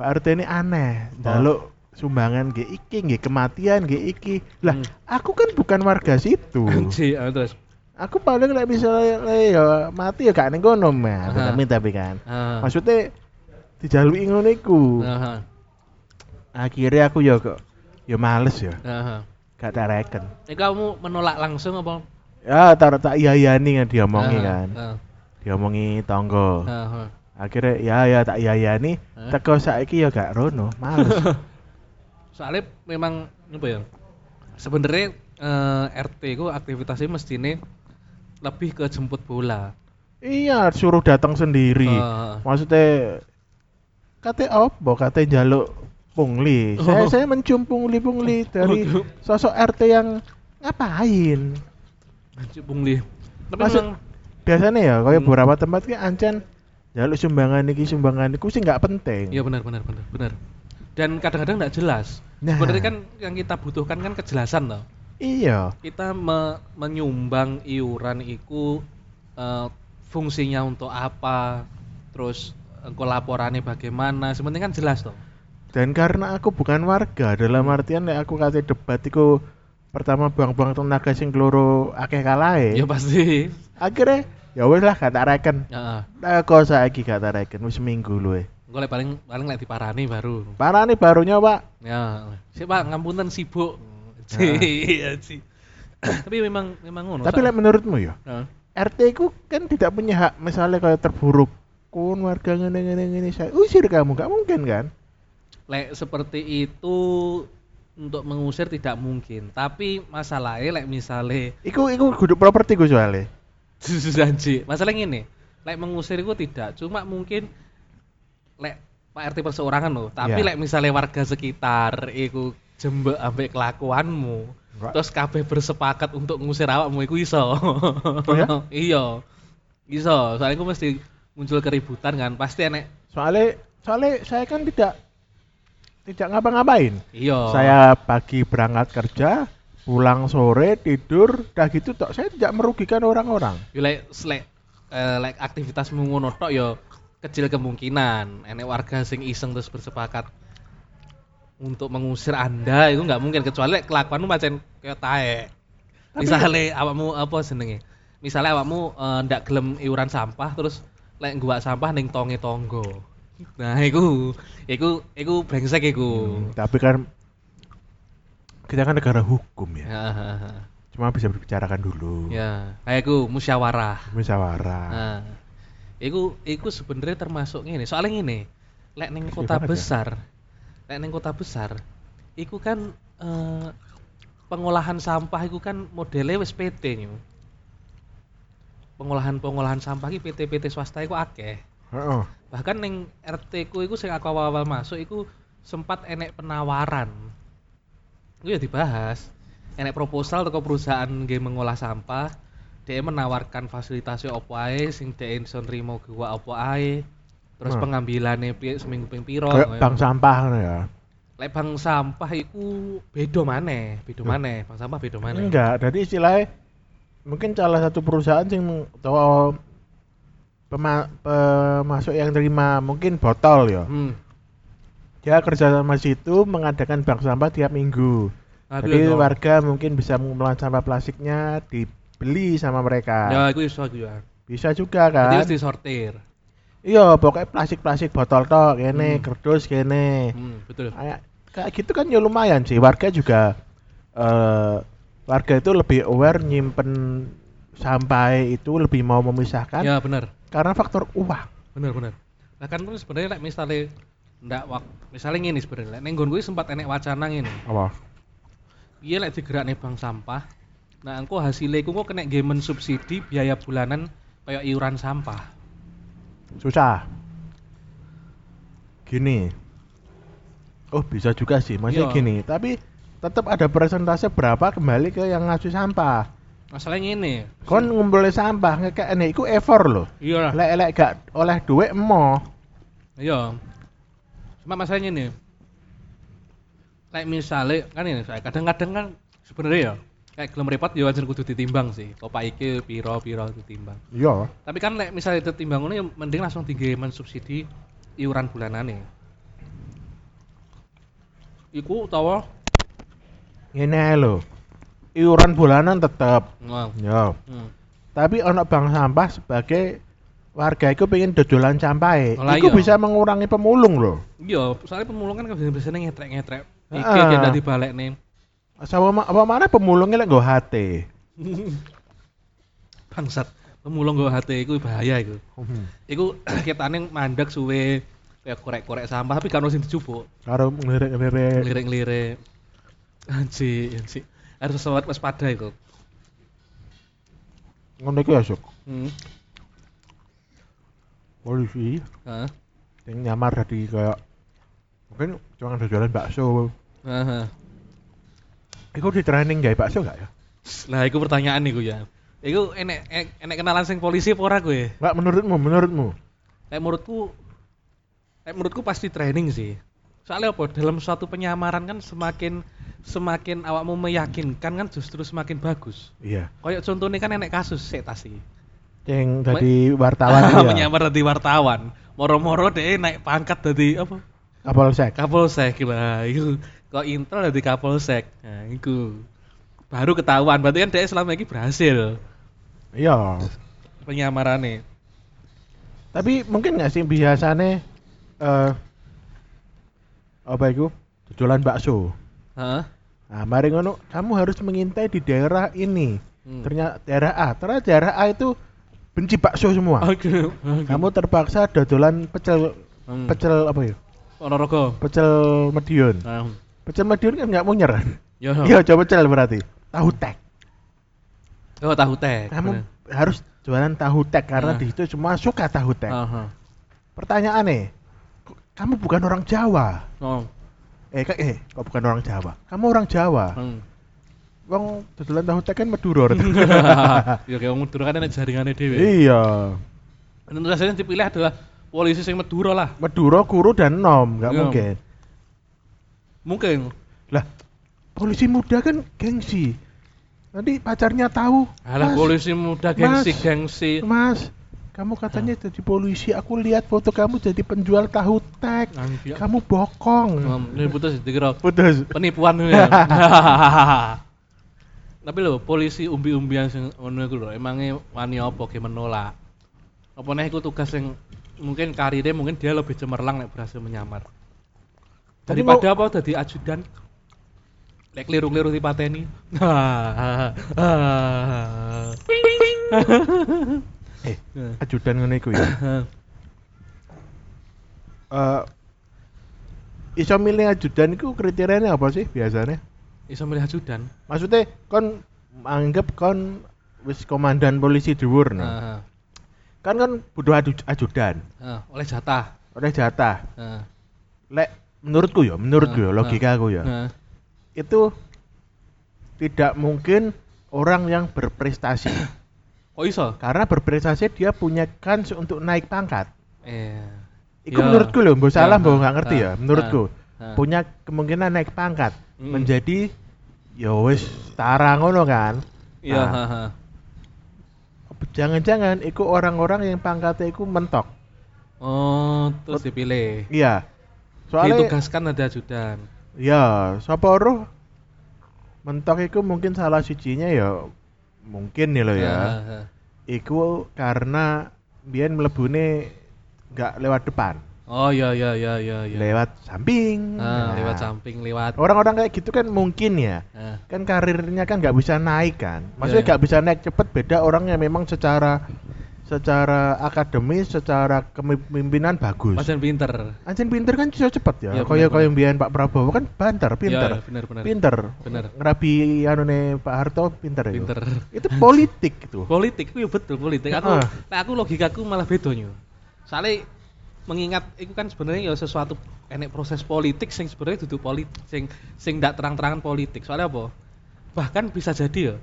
Speaker 2: Pak RT ini aneh, jaluk sumbangan ge iki, ge kematian ge iki. Lah,
Speaker 1: Hmm.
Speaker 2: aku kan bukan warga situ.
Speaker 1: Anji, ah, terus.
Speaker 2: Aku paling lek bisa lek- lek ya mati ya gak ning kono mah,
Speaker 1: Heeh.
Speaker 2: tapi tapi kan.
Speaker 1: Ah.
Speaker 2: Maksudnya dijalui ngono iku.
Speaker 1: Aha,
Speaker 2: Akhirnya aku ya kok ya males ya,
Speaker 1: aha.
Speaker 2: gak tak reken.
Speaker 1: Eh, kamu menolak langsung apa?
Speaker 2: ya tar tak iya iya nih kan diomongi
Speaker 1: Ah,
Speaker 2: kan Oh.
Speaker 1: ah,
Speaker 2: diomongi tonggo
Speaker 1: ah, ah.
Speaker 2: akhirnya ya ya tak iya iya nih
Speaker 1: Hah?
Speaker 2: teko saiki ya gak rono males
Speaker 1: Soalnya memang apa ya? Sebenarnya eh, RT ku aktivitasnya mestine lebih ke jemput bola.
Speaker 2: iya suruh datang sendiri
Speaker 1: Ah.
Speaker 2: maksudnya kate opo kate jaluk pungli
Speaker 1: Oh.
Speaker 2: saya saya mencium pungli pungli dari
Speaker 1: Waduh.
Speaker 2: sosok rt yang ngapain
Speaker 1: Anji, pungli. Tapi
Speaker 2: Maksud-
Speaker 1: memang
Speaker 2: biasanya ya kayak
Speaker 1: Hmm.
Speaker 2: beberapa tempat kan ancen jaluk sumbangan iki sumbangan iku sih nggak penting
Speaker 1: Iya benar benar benar benar. Dan kadang-kadang nggak jelas.
Speaker 2: Nah.
Speaker 1: Sebenarnya kan yang kita butuhkan kan kejelasan loh.
Speaker 2: iya
Speaker 1: Kita me- menyumbang iuran itu eh, fungsinya untuk apa, terus eh, engko laporannya bagaimana, sementing kan jelas toh.
Speaker 2: Dan karena aku bukan warga, dalam artian nek aku kasih debat iku pertama buang-buang tenaga sing keloro akeh kalahe.
Speaker 1: Ya pasti.
Speaker 2: Akhirnya ya wis lah gak tak reken.
Speaker 1: Heeh.
Speaker 2: Nah, kok saiki gak tak reken wis seminggu luwe.
Speaker 1: Engko lek paling paling lek diparani baru.
Speaker 2: Parah nih barunya, Pak.
Speaker 1: Ya, siapa ngampunten sibuk.
Speaker 2: Nah.
Speaker 1: Iya sih. Tapi memang memang ngono.
Speaker 2: Tapi lek menurutmu ya,
Speaker 1: Heeh.
Speaker 2: RT ku kan tidak punya hak misalnya kayak terburuk. Kun warga ngene-ngene ngene saya usir kamu, gak mungkin kan?
Speaker 1: lek seperti itu untuk mengusir tidak mungkin tapi masalahnya lek misalnya
Speaker 2: Iku iku kudu properti ku soalnya.
Speaker 1: janji masalah ini lek mengusir itu tidak cuma mungkin lek Pak RT perseorangan loh tapi
Speaker 2: Iya.
Speaker 1: lek misalnya warga sekitar iku jembek ambek kelakuanmu
Speaker 2: Enggak.
Speaker 1: terus kabeh bersepakat untuk ngusir awakmu iku iso
Speaker 2: ya?
Speaker 1: iya iso soalnya iku mesti muncul keributan kan pasti enek
Speaker 2: Soalnya soalnya saya kan tidak tidak ngapa-ngapain
Speaker 1: Iya.
Speaker 2: saya pagi berangkat kerja pulang sore tidur dah gitu tok saya tidak merugikan orang-orang
Speaker 1: Yo lek lek eh, lek aktivitasmu ngono tok yo kecil kemungkinan enek warga sing iseng terus bersepakat untuk mengusir Anda itu nggak mungkin kecuali lek kelakuanmu macam kayak tae.
Speaker 2: Tapi-
Speaker 1: Misalnya awakmu apa senenge? Misalnya awakmu eh, ndak gelem iuran sampah terus lek gua sampah ning tonge tonggo. Nah, iku iku iku brengsek iku.
Speaker 2: Hmm, tapi kan kita kan negara hukum ya
Speaker 1: Ya,
Speaker 2: cuma bisa berbicarakan dulu
Speaker 1: ya. Kayak iku musyawarah.
Speaker 2: musyawarah
Speaker 1: Nah, iku iku sebenarnya termasuk ngene. Soalnya ngene, lek ning
Speaker 2: Resmi
Speaker 1: kota
Speaker 2: banget ya.
Speaker 1: besar, lek ning kota besar, iku kan eh, pengolahan sampah iku kan modelnya wis PT nyu. Pengolahan-pengolahan sampah iki PT-PT swasta iku akeh.
Speaker 2: Heeh.
Speaker 1: Bahkan ning RT ku iku sing aku awal-awal masuk iku sempat enek penawaran. Iku ya dibahas. Enek proposal teko perusahaan nggih mengolah sampah, dia menawarkan fasilitasnya opo ae sing dhek iso nrimo gua opo ae. Terus
Speaker 2: Nah.
Speaker 1: pengambilane piye seminggu ping piro.
Speaker 2: kayak
Speaker 1: ngono ya.
Speaker 2: bank sampah ngono ya
Speaker 1: Lek bank sampah iku beda maneh, beda
Speaker 2: Loh.
Speaker 1: maneh, bank sampah beda maneh.
Speaker 2: Hmm. enggak jadi istilahnya mungkin salah satu perusahaan sing atau pema- pemasok yang terima mungkin botol ya
Speaker 1: Hmm.
Speaker 2: dia kerja sama situ mengadakan bank sampah tiap minggu
Speaker 1: Aku
Speaker 2: jadi
Speaker 1: ya, Dok.
Speaker 2: warga mungkin bisa mengumpulkan sampah plastiknya dibeli sama mereka
Speaker 1: Ya, iku iso aku ya.
Speaker 2: bisa juga
Speaker 1: Jadi
Speaker 2: kan
Speaker 1: wis disortir.
Speaker 2: iya pokoknya plastik-plastik botol tok kene
Speaker 1: Hmm.
Speaker 2: kerdus kene
Speaker 1: Hmm, betul.
Speaker 2: kayak kayak gitu kan ya lumayan sih warga juga eh warga itu lebih aware nyimpen sampai itu lebih mau memisahkan
Speaker 1: Ya, bener.
Speaker 2: karena faktor uang
Speaker 1: bener bener nah kan terus sebenarnya like, misalnya ndak wak misalnya gini sebenarnya like, nenggon gue sempat enek wacana ini
Speaker 2: apa
Speaker 1: iya lek digerak nih bang sampah nah engko hasilnya engko kena gemen subsidi biaya bulanan kayak iuran sampah
Speaker 2: susah gini oh bisa juga sih
Speaker 1: Iya.
Speaker 2: masih gini tapi tetap ada persentase berapa kembali ke yang ngasih sampah
Speaker 1: masalahnya ini
Speaker 2: kon ngumpulin sampah ngekek ini itu effort loh
Speaker 1: iya lah
Speaker 2: lek lek gak oleh duit emoh
Speaker 1: iya cuma masalahnya ini kayak misalnya kan ini saya kadang-kadang kan sebenarnya ya kayak gelem repot ya wajar kudu ditimbang sih opak iki piro piro ditimbang
Speaker 2: iya
Speaker 1: Tapi kan lek misalnya ditimbang ngono ya mending langsung tinggi mensubsidi iuran bulanane. Iku utawa
Speaker 2: ini ae lho iuran bulanan tetap
Speaker 1: Nah,
Speaker 2: ya
Speaker 1: hmm.
Speaker 2: tapi ono bank sampah sebagai warga itu pengen dodolan sampai
Speaker 1: Lah iya.
Speaker 2: itu bisa mengurangi pemulung loh
Speaker 1: Iya, soalnya pemulung kan biasanya ngetrek-ngetrek. Iki
Speaker 2: Heeh.
Speaker 1: uh. dadi balik nih.
Speaker 2: sama ma- apa mana pemulungnya lek nggak HT
Speaker 1: Bangsat, pemulung gak hati iku bahaya iku. Iku ketane mandek suwe kayak korek-korek sampah tapi kan ono sing dijupuk.
Speaker 2: karo ngelirik-ngelirik
Speaker 1: lirik-lirik anji anji harus sewat waspada itu
Speaker 2: ngono iku ya Sok.
Speaker 1: hmm.
Speaker 2: polisi
Speaker 1: Heeh.
Speaker 2: yang nyamar jadi kayak mungkin cuma dodolan bakso
Speaker 1: Heeh.
Speaker 2: itu di training gak bakso gak ya
Speaker 1: Lah iku pertanyaan iku ya. Iku enek enek- enek kenalan sing polisi apa ora kowe?
Speaker 2: nggak menurutmu menurutmu
Speaker 1: Nek menurutku nek menurutku pasti training sih. Soalnya apa? Dalam suatu penyamaran kan semakin semakin awakmu meyakinkan kan justru semakin bagus.
Speaker 2: iya
Speaker 1: Kayak contohnya kan enek kasus sik tas iki.
Speaker 2: yang tadi wartawan ya
Speaker 1: Menyamar dadi wartawan. Moro-moro deh naik pangkat dadi apa?
Speaker 2: kapolsek
Speaker 1: Kapolsek lah. Iku kok intro dadi Kapolsek. Nah, iku. Baru ketahuan berarti kan dia selama ini berhasil
Speaker 2: iya
Speaker 1: penyamarannya.
Speaker 2: Tapi mungkin nggak sih biasanya eh apa itu jualan bakso.
Speaker 1: Heeh.
Speaker 2: Nah, mari ngono, kamu harus mengintai di daerah ini.
Speaker 1: Hmm.
Speaker 2: Ternyata daerah A, ternyata daerah A itu benci bakso semua.
Speaker 1: Oke. Mm-hmm.
Speaker 2: Kamu terpaksa dodolan
Speaker 1: gitu.
Speaker 2: pecel
Speaker 1: Oh, Hmm.
Speaker 2: pecel apa ya?
Speaker 1: Ponorogo.
Speaker 2: Pecel Medion.
Speaker 1: Nah,
Speaker 2: Pecel Medion kan nggak munyer kan?
Speaker 1: Yo.
Speaker 2: Iya, coba pecel berarti. Tahu tek.
Speaker 1: Yo tahu teh.
Speaker 2: Kamu harus jualan tahu tek
Speaker 1: Ah.
Speaker 2: karena di situ semua suka tahu tek.
Speaker 1: Heeh.
Speaker 2: Pertanyaannya, kamu bukan orang Jawa.
Speaker 1: Oh.
Speaker 2: eh kak eh kok bukan orang Jawa kamu orang Jawa
Speaker 1: hmm.
Speaker 2: wong dodolan tahu tek kan Madura rek.
Speaker 1: Iya. Yo kayak mundur kan enak jaringannya dhewe.
Speaker 2: iya
Speaker 1: Dan rasanya yang dipilih adalah polisi sing Madura lah.
Speaker 2: Madura guru dan nom nggak
Speaker 1: Iya.
Speaker 2: mungkin
Speaker 1: Mungkin.
Speaker 2: lah polisi muda kan gengsi nanti pacarnya tahu
Speaker 1: Alah
Speaker 2: "Mas,
Speaker 1: polisi muda gengsi
Speaker 2: Mas.
Speaker 1: gengsi.
Speaker 2: mas kamu katanya jadi polisi aku lihat foto kamu jadi penjual tahu tek
Speaker 1: Anjir.
Speaker 2: kamu bokong
Speaker 1: Nah, Ini putus dikira
Speaker 2: putus
Speaker 1: penipuan ini. ya. Tapi lho, polisi umbi-umbian sing ngono iku lho, emange wani apa ge menolak. Apa neh iku tugas yang mungkin karirnya mungkin dia lebih cemerlang nek berhasil menyamar.
Speaker 2: Tapi
Speaker 1: Daripada apa dadi ajudan lek keliru-keliru dipateni.
Speaker 2: eh ajudan ngono iku ya Eh, iso milih ajudan itu kriterianya apa sih biasanya
Speaker 1: Iso milih ajudan.
Speaker 2: maksudnya kon anggap kon wis komandan polisi dhuwur nah.
Speaker 1: Heeh.
Speaker 2: kan kan butuh adu- ajudan
Speaker 1: Heeh, oleh jatah.
Speaker 2: oleh jatah
Speaker 1: Heeh.
Speaker 2: lek menurutku ya menurutku
Speaker 1: Ah,
Speaker 2: ya logika aku ya
Speaker 1: Heeh.
Speaker 2: itu tidak mungkin orang yang berprestasi
Speaker 1: Kok iso?
Speaker 2: karena berprestasi dia punya kans untuk naik pangkat
Speaker 1: Eh.
Speaker 2: itu
Speaker 1: Ya.
Speaker 2: menurutku loh mbok salah
Speaker 1: Ya,
Speaker 2: mbok
Speaker 1: ah,
Speaker 2: nggak ngerti
Speaker 1: ah,
Speaker 2: ya menurutku
Speaker 1: ah, ah.
Speaker 2: punya kemungkinan naik pangkat
Speaker 1: Mm.
Speaker 2: menjadi ya wis setara ngono kan
Speaker 1: Iya,
Speaker 2: Nah,
Speaker 1: heeh.
Speaker 2: jangan-jangan itu orang-orang yang pangkatnya itu mentok
Speaker 1: Oh, terus dipilih.
Speaker 2: iya soalnya
Speaker 1: Ditugaskan ada ajudan.
Speaker 2: ya sapa roh mentok itu mungkin salah sucinya ya mungkin nih loh ya
Speaker 1: Heeh, heeh.
Speaker 2: Iku karena biyen mlebune nggak lewat depan,
Speaker 1: Oh, iya iya iya iya iya.
Speaker 2: lewat samping.
Speaker 1: Ah,
Speaker 2: Nah,
Speaker 1: lewat samping, lewat. Ah.
Speaker 2: Orang-orang kayak gitu kan mungkin ya.
Speaker 1: Heeh.
Speaker 2: Kan karirnya kan nggak bisa naik kan. Maksudnya
Speaker 1: Iya, iya.
Speaker 2: nggak bisa naik cepet beda orang yang memang secara secara akademis, secara kepemimpinan bagus.
Speaker 1: Pasen pinter.
Speaker 2: Anjing pinter kan bisa cepet ya.
Speaker 1: Iya,
Speaker 2: Kaya
Speaker 1: bener,
Speaker 2: kaya biyen Pak Prabowo kan banter, pinter.
Speaker 1: Iya, bener bener.
Speaker 2: Pinter.
Speaker 1: Bener.
Speaker 2: Ngerabi anune Pak Harto pinter itu.
Speaker 1: Pinter.
Speaker 2: Itu politik gitu.
Speaker 1: Politik, iya betul politik. Aku,
Speaker 2: Heeh.
Speaker 1: nah, aku logikaku malah bedonyo. Soalnya mengingat itu kan sebenarnya ya sesuatu enek proses politik sing sebenarnya duduk politik sing sing ndak terang-terangan politik. Soalnya apa? Bahkan bisa jadi ya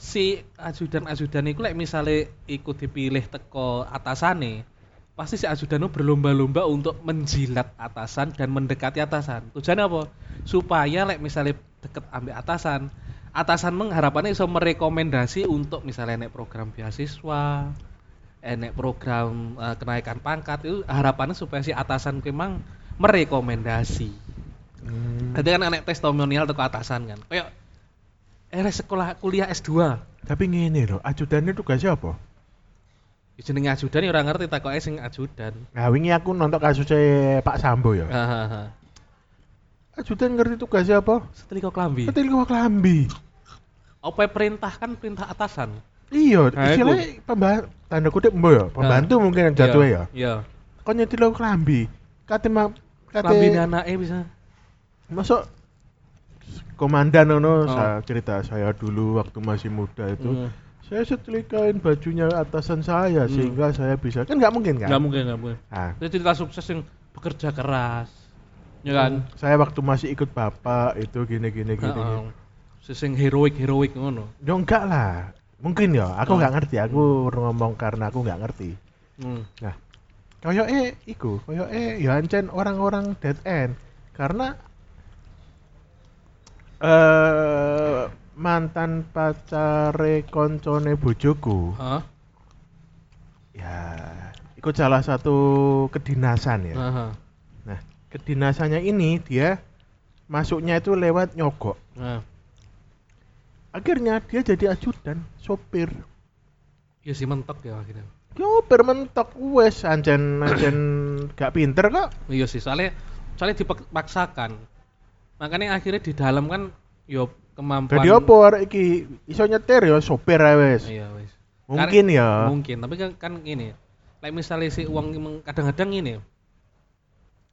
Speaker 1: si ajudan-ajudan itu like misalnya ikut dipilih teko atasane pasti si ajudan itu berlomba-lomba untuk menjilat atasan dan mendekati atasan tujuannya apa supaya like misalnya deket ambil atasan atasan mengharapannya bisa merekomendasi untuk misalnya enek program beasiswa enek program eh, kenaikan pangkat itu harapannya supaya si atasan ku emang merekomendasi
Speaker 2: Hmm.
Speaker 1: jadi kan enek testimonial teko atasan kan kayak eh sekolah kuliah S2
Speaker 2: Tapi ngene loh, ajudannya tugasnya apa?
Speaker 1: jenenge ajudan ya ora ngerti takoke sing ajudan.
Speaker 2: Nah, wingi aku nonton kasusnya Pak Sambo
Speaker 1: Ah.
Speaker 2: ya.
Speaker 1: Hahaha.
Speaker 2: Ajudan ngerti tugasnya apa?
Speaker 1: Setrika klambi.
Speaker 2: Ketil gua kelambi.
Speaker 1: Apa perintah kan perintah atasan.
Speaker 2: Iya,
Speaker 1: Nah,
Speaker 2: istilahnya pembantu tanda kutip mbok ya, pembantu mungkin yang jatuh ya.
Speaker 1: Iya.
Speaker 2: Kok nyetil gua kelambi. Kate ma
Speaker 1: Klambi
Speaker 2: kate
Speaker 1: anake bisa.
Speaker 2: masuk komandan
Speaker 1: Oh.
Speaker 2: ono saya cerita saya dulu waktu masih muda itu.
Speaker 1: Hmm.
Speaker 2: Saya setrikain bajunya atasan saya
Speaker 1: Hmm.
Speaker 2: sehingga saya bisa. Kan nggak mungkin kan?
Speaker 1: Enggak mungkin, enggak mungkin.
Speaker 2: Ah.
Speaker 1: Itu cerita sukses yang bekerja keras. Ya kan?
Speaker 2: Saya waktu masih ikut bapak itu gini gini gini. gini.
Speaker 1: Heeh. Sing heroik-heroik ngono.
Speaker 2: Ya enggak lah. Mungkin ya, aku
Speaker 1: Hmm.
Speaker 2: nggak ngerti. Aku ngomong karena aku nggak ngerti.
Speaker 1: Hmm.
Speaker 2: Nah, koyoke iku, koyoke ya ancen orang-orang dead end karena eh mantan pacare koncone bojoku
Speaker 1: Hah?
Speaker 2: ya ikut salah satu kedinasan ya.
Speaker 1: Aha.
Speaker 2: Nah, kedinasannya ini dia masuknya itu lewat nyogok.
Speaker 1: Nah.
Speaker 2: Akhirnya dia jadi ajudan, sopir.
Speaker 1: Ya si mentok ya akhirnya.
Speaker 2: Sopir mentok wes ancen ancen gak pinter kok.
Speaker 1: Iya sih, soalnya soalnya dipaksakan. Makanya akhirnya di dalam kan yo kemampuan
Speaker 2: Jadi apa arek iki iso nyetir ya sopir ae wes.
Speaker 1: Iya wis. Karena-
Speaker 2: Mungkin ya.
Speaker 1: Mungkin, tapi kan kan gini. Like misalnya si uang emang kadang-kadang ini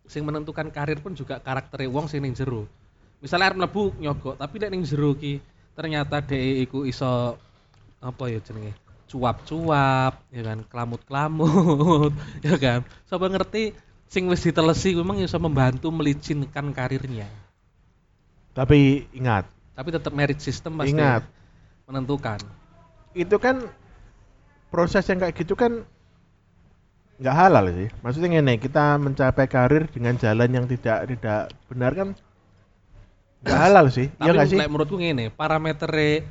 Speaker 1: sing menentukan karir pun juga karakter wong sing ning jero. Misalnya arep mlebu nyogok, tapi nek ning jero ki ternyata DE iku iso apa ya jenenge? cuap-cuap, ya kan, kelamut-kelamut, ya kan. Sapa ngerti sing wis ditelesi kuwi memang iso membantu melicinkan karirnya.
Speaker 2: Tapi ingat,
Speaker 1: Tapi tetap merit system pasti
Speaker 2: Ingat.
Speaker 1: menentukan.
Speaker 2: itu kan proses yang kayak gitu kan nggak halal sih maksudnya ini kita mencapai karir dengan jalan yang tidak tidak benar kan nggak halal sih
Speaker 1: Nah, Tapi
Speaker 2: ya nggak sih
Speaker 1: lek menurutku ngene, parametere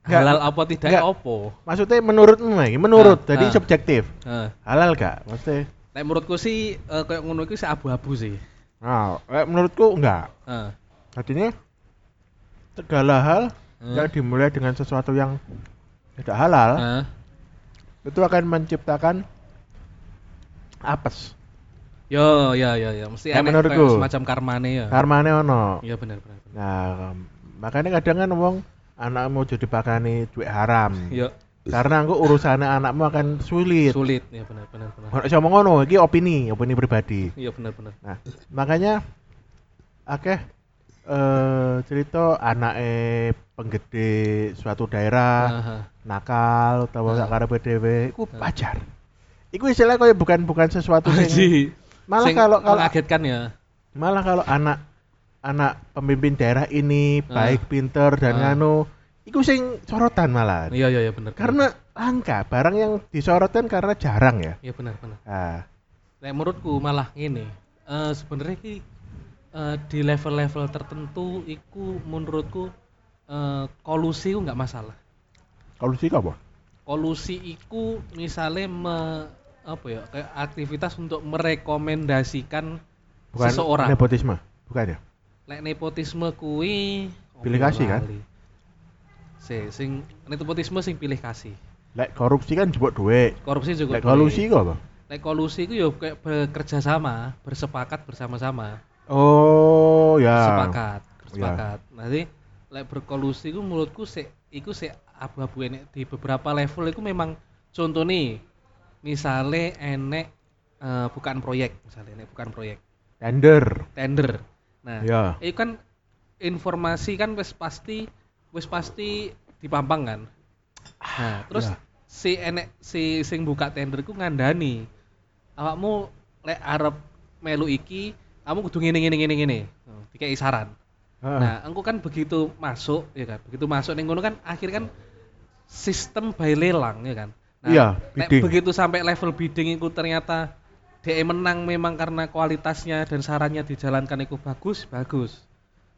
Speaker 2: Nggak,
Speaker 1: halal apa tidak
Speaker 2: nggak.
Speaker 1: opo.
Speaker 2: maksudnya menurutmu Mai, menurut
Speaker 1: Ah, ah.
Speaker 2: jadi subjektif
Speaker 1: Heeh.
Speaker 2: halal gak maksudnya
Speaker 1: Lek menurutku sih eh, kayak ngono iku sih abu-abu sih.
Speaker 2: nah eh, menurutku enggak
Speaker 1: Heeh.
Speaker 2: artinya segala hal
Speaker 1: Hmm. Nah.
Speaker 2: yang dimulai dengan sesuatu yang tidak halal
Speaker 1: Heeh.
Speaker 2: itu akan menciptakan apes
Speaker 1: Yo, ya, ya, ya. Mesti
Speaker 2: Ya,
Speaker 1: enek
Speaker 2: menurutku.
Speaker 1: kayak semacam karmane ya.
Speaker 2: karmane ono
Speaker 1: Iya benar benar. benar.
Speaker 2: nah makanya kadang kan wong anakmu jadi pakani duit haram
Speaker 1: Yo,
Speaker 2: karena aku urusannya anakmu akan
Speaker 1: Iya.
Speaker 2: sulit
Speaker 1: sulit. Ya benar benar benar.
Speaker 2: Ono sing ngomong ngono iki opini opini pribadi
Speaker 1: Iya benar benar.
Speaker 2: nah makanya akeh eh cerita anake penggede suatu daerah
Speaker 1: Aha.
Speaker 2: nakal
Speaker 1: Ah.
Speaker 2: utawa sak karepe dhewe iku
Speaker 1: Ah.
Speaker 2: wajar iku istilah kaya bukan bukan sesuatu sing
Speaker 1: Aji.
Speaker 2: malah
Speaker 1: Sing
Speaker 2: kalau kalau
Speaker 1: mengagetkan ya.
Speaker 2: malah kalau anak anak pemimpin daerah ini
Speaker 1: Ah.
Speaker 2: baik pinter dan
Speaker 1: Ah.
Speaker 2: nganu iku sing sorotan malah
Speaker 1: Iya iya iya benar. benar.
Speaker 2: karena langka barang yang disorotin karena jarang ya
Speaker 1: Iya benar benar.
Speaker 2: ah
Speaker 1: Nek menurutku malah ini eh sebenarnya ki eh, di level-level tertentu iku menurutku eh, kolusi ku nggak masalah.
Speaker 2: kalau sih apa
Speaker 1: Kolusi iku misalnya me, apa ya kayak aktivitas untuk merekomendasikan
Speaker 2: bukan
Speaker 1: seseorang.
Speaker 2: nepotisme bukan ya
Speaker 1: Lek nepotisme kui opo
Speaker 2: Pilih kasih, kan?
Speaker 1: lali. Se, sing nepotisme sing pilih kasih.
Speaker 2: lek korupsi kan jebok duit
Speaker 1: Korupsi juga.
Speaker 2: lek
Speaker 1: boleh.
Speaker 2: kolusi kok apa
Speaker 1: Lek kolusi itu ya kayak bekerja sama, bersepakat bersama-sama.
Speaker 2: oh ya
Speaker 1: sepakat sepakat nanti lek berkolusi itu menurutku sik iku sik abu-abu enek di beberapa level itu memang contoh nih misalnya enek eh, bukan proyek misalnya enek bukan proyek
Speaker 2: tender
Speaker 1: tender nah
Speaker 2: ya
Speaker 1: itu kan informasi kan wis pasti wis pasti dipampang kan nah terus
Speaker 2: ya.
Speaker 1: si enek si sing buka tender ku ngandani awakmu lek arep melu iki kamu kudu ngene ngene ngene ngene Nah, dikai saran
Speaker 2: Ah.
Speaker 1: Nah, engko kan begitu masuk, ya kan? Begitu masuk ning ngono kan akhir kan sistem by lelang, ya kan? Nah,
Speaker 2: Iya,
Speaker 1: nek
Speaker 2: bidding.
Speaker 1: begitu sampai level bidding itu ternyata DE menang memang karena kualitasnya dan sarannya dijalankan itu bagus, bagus.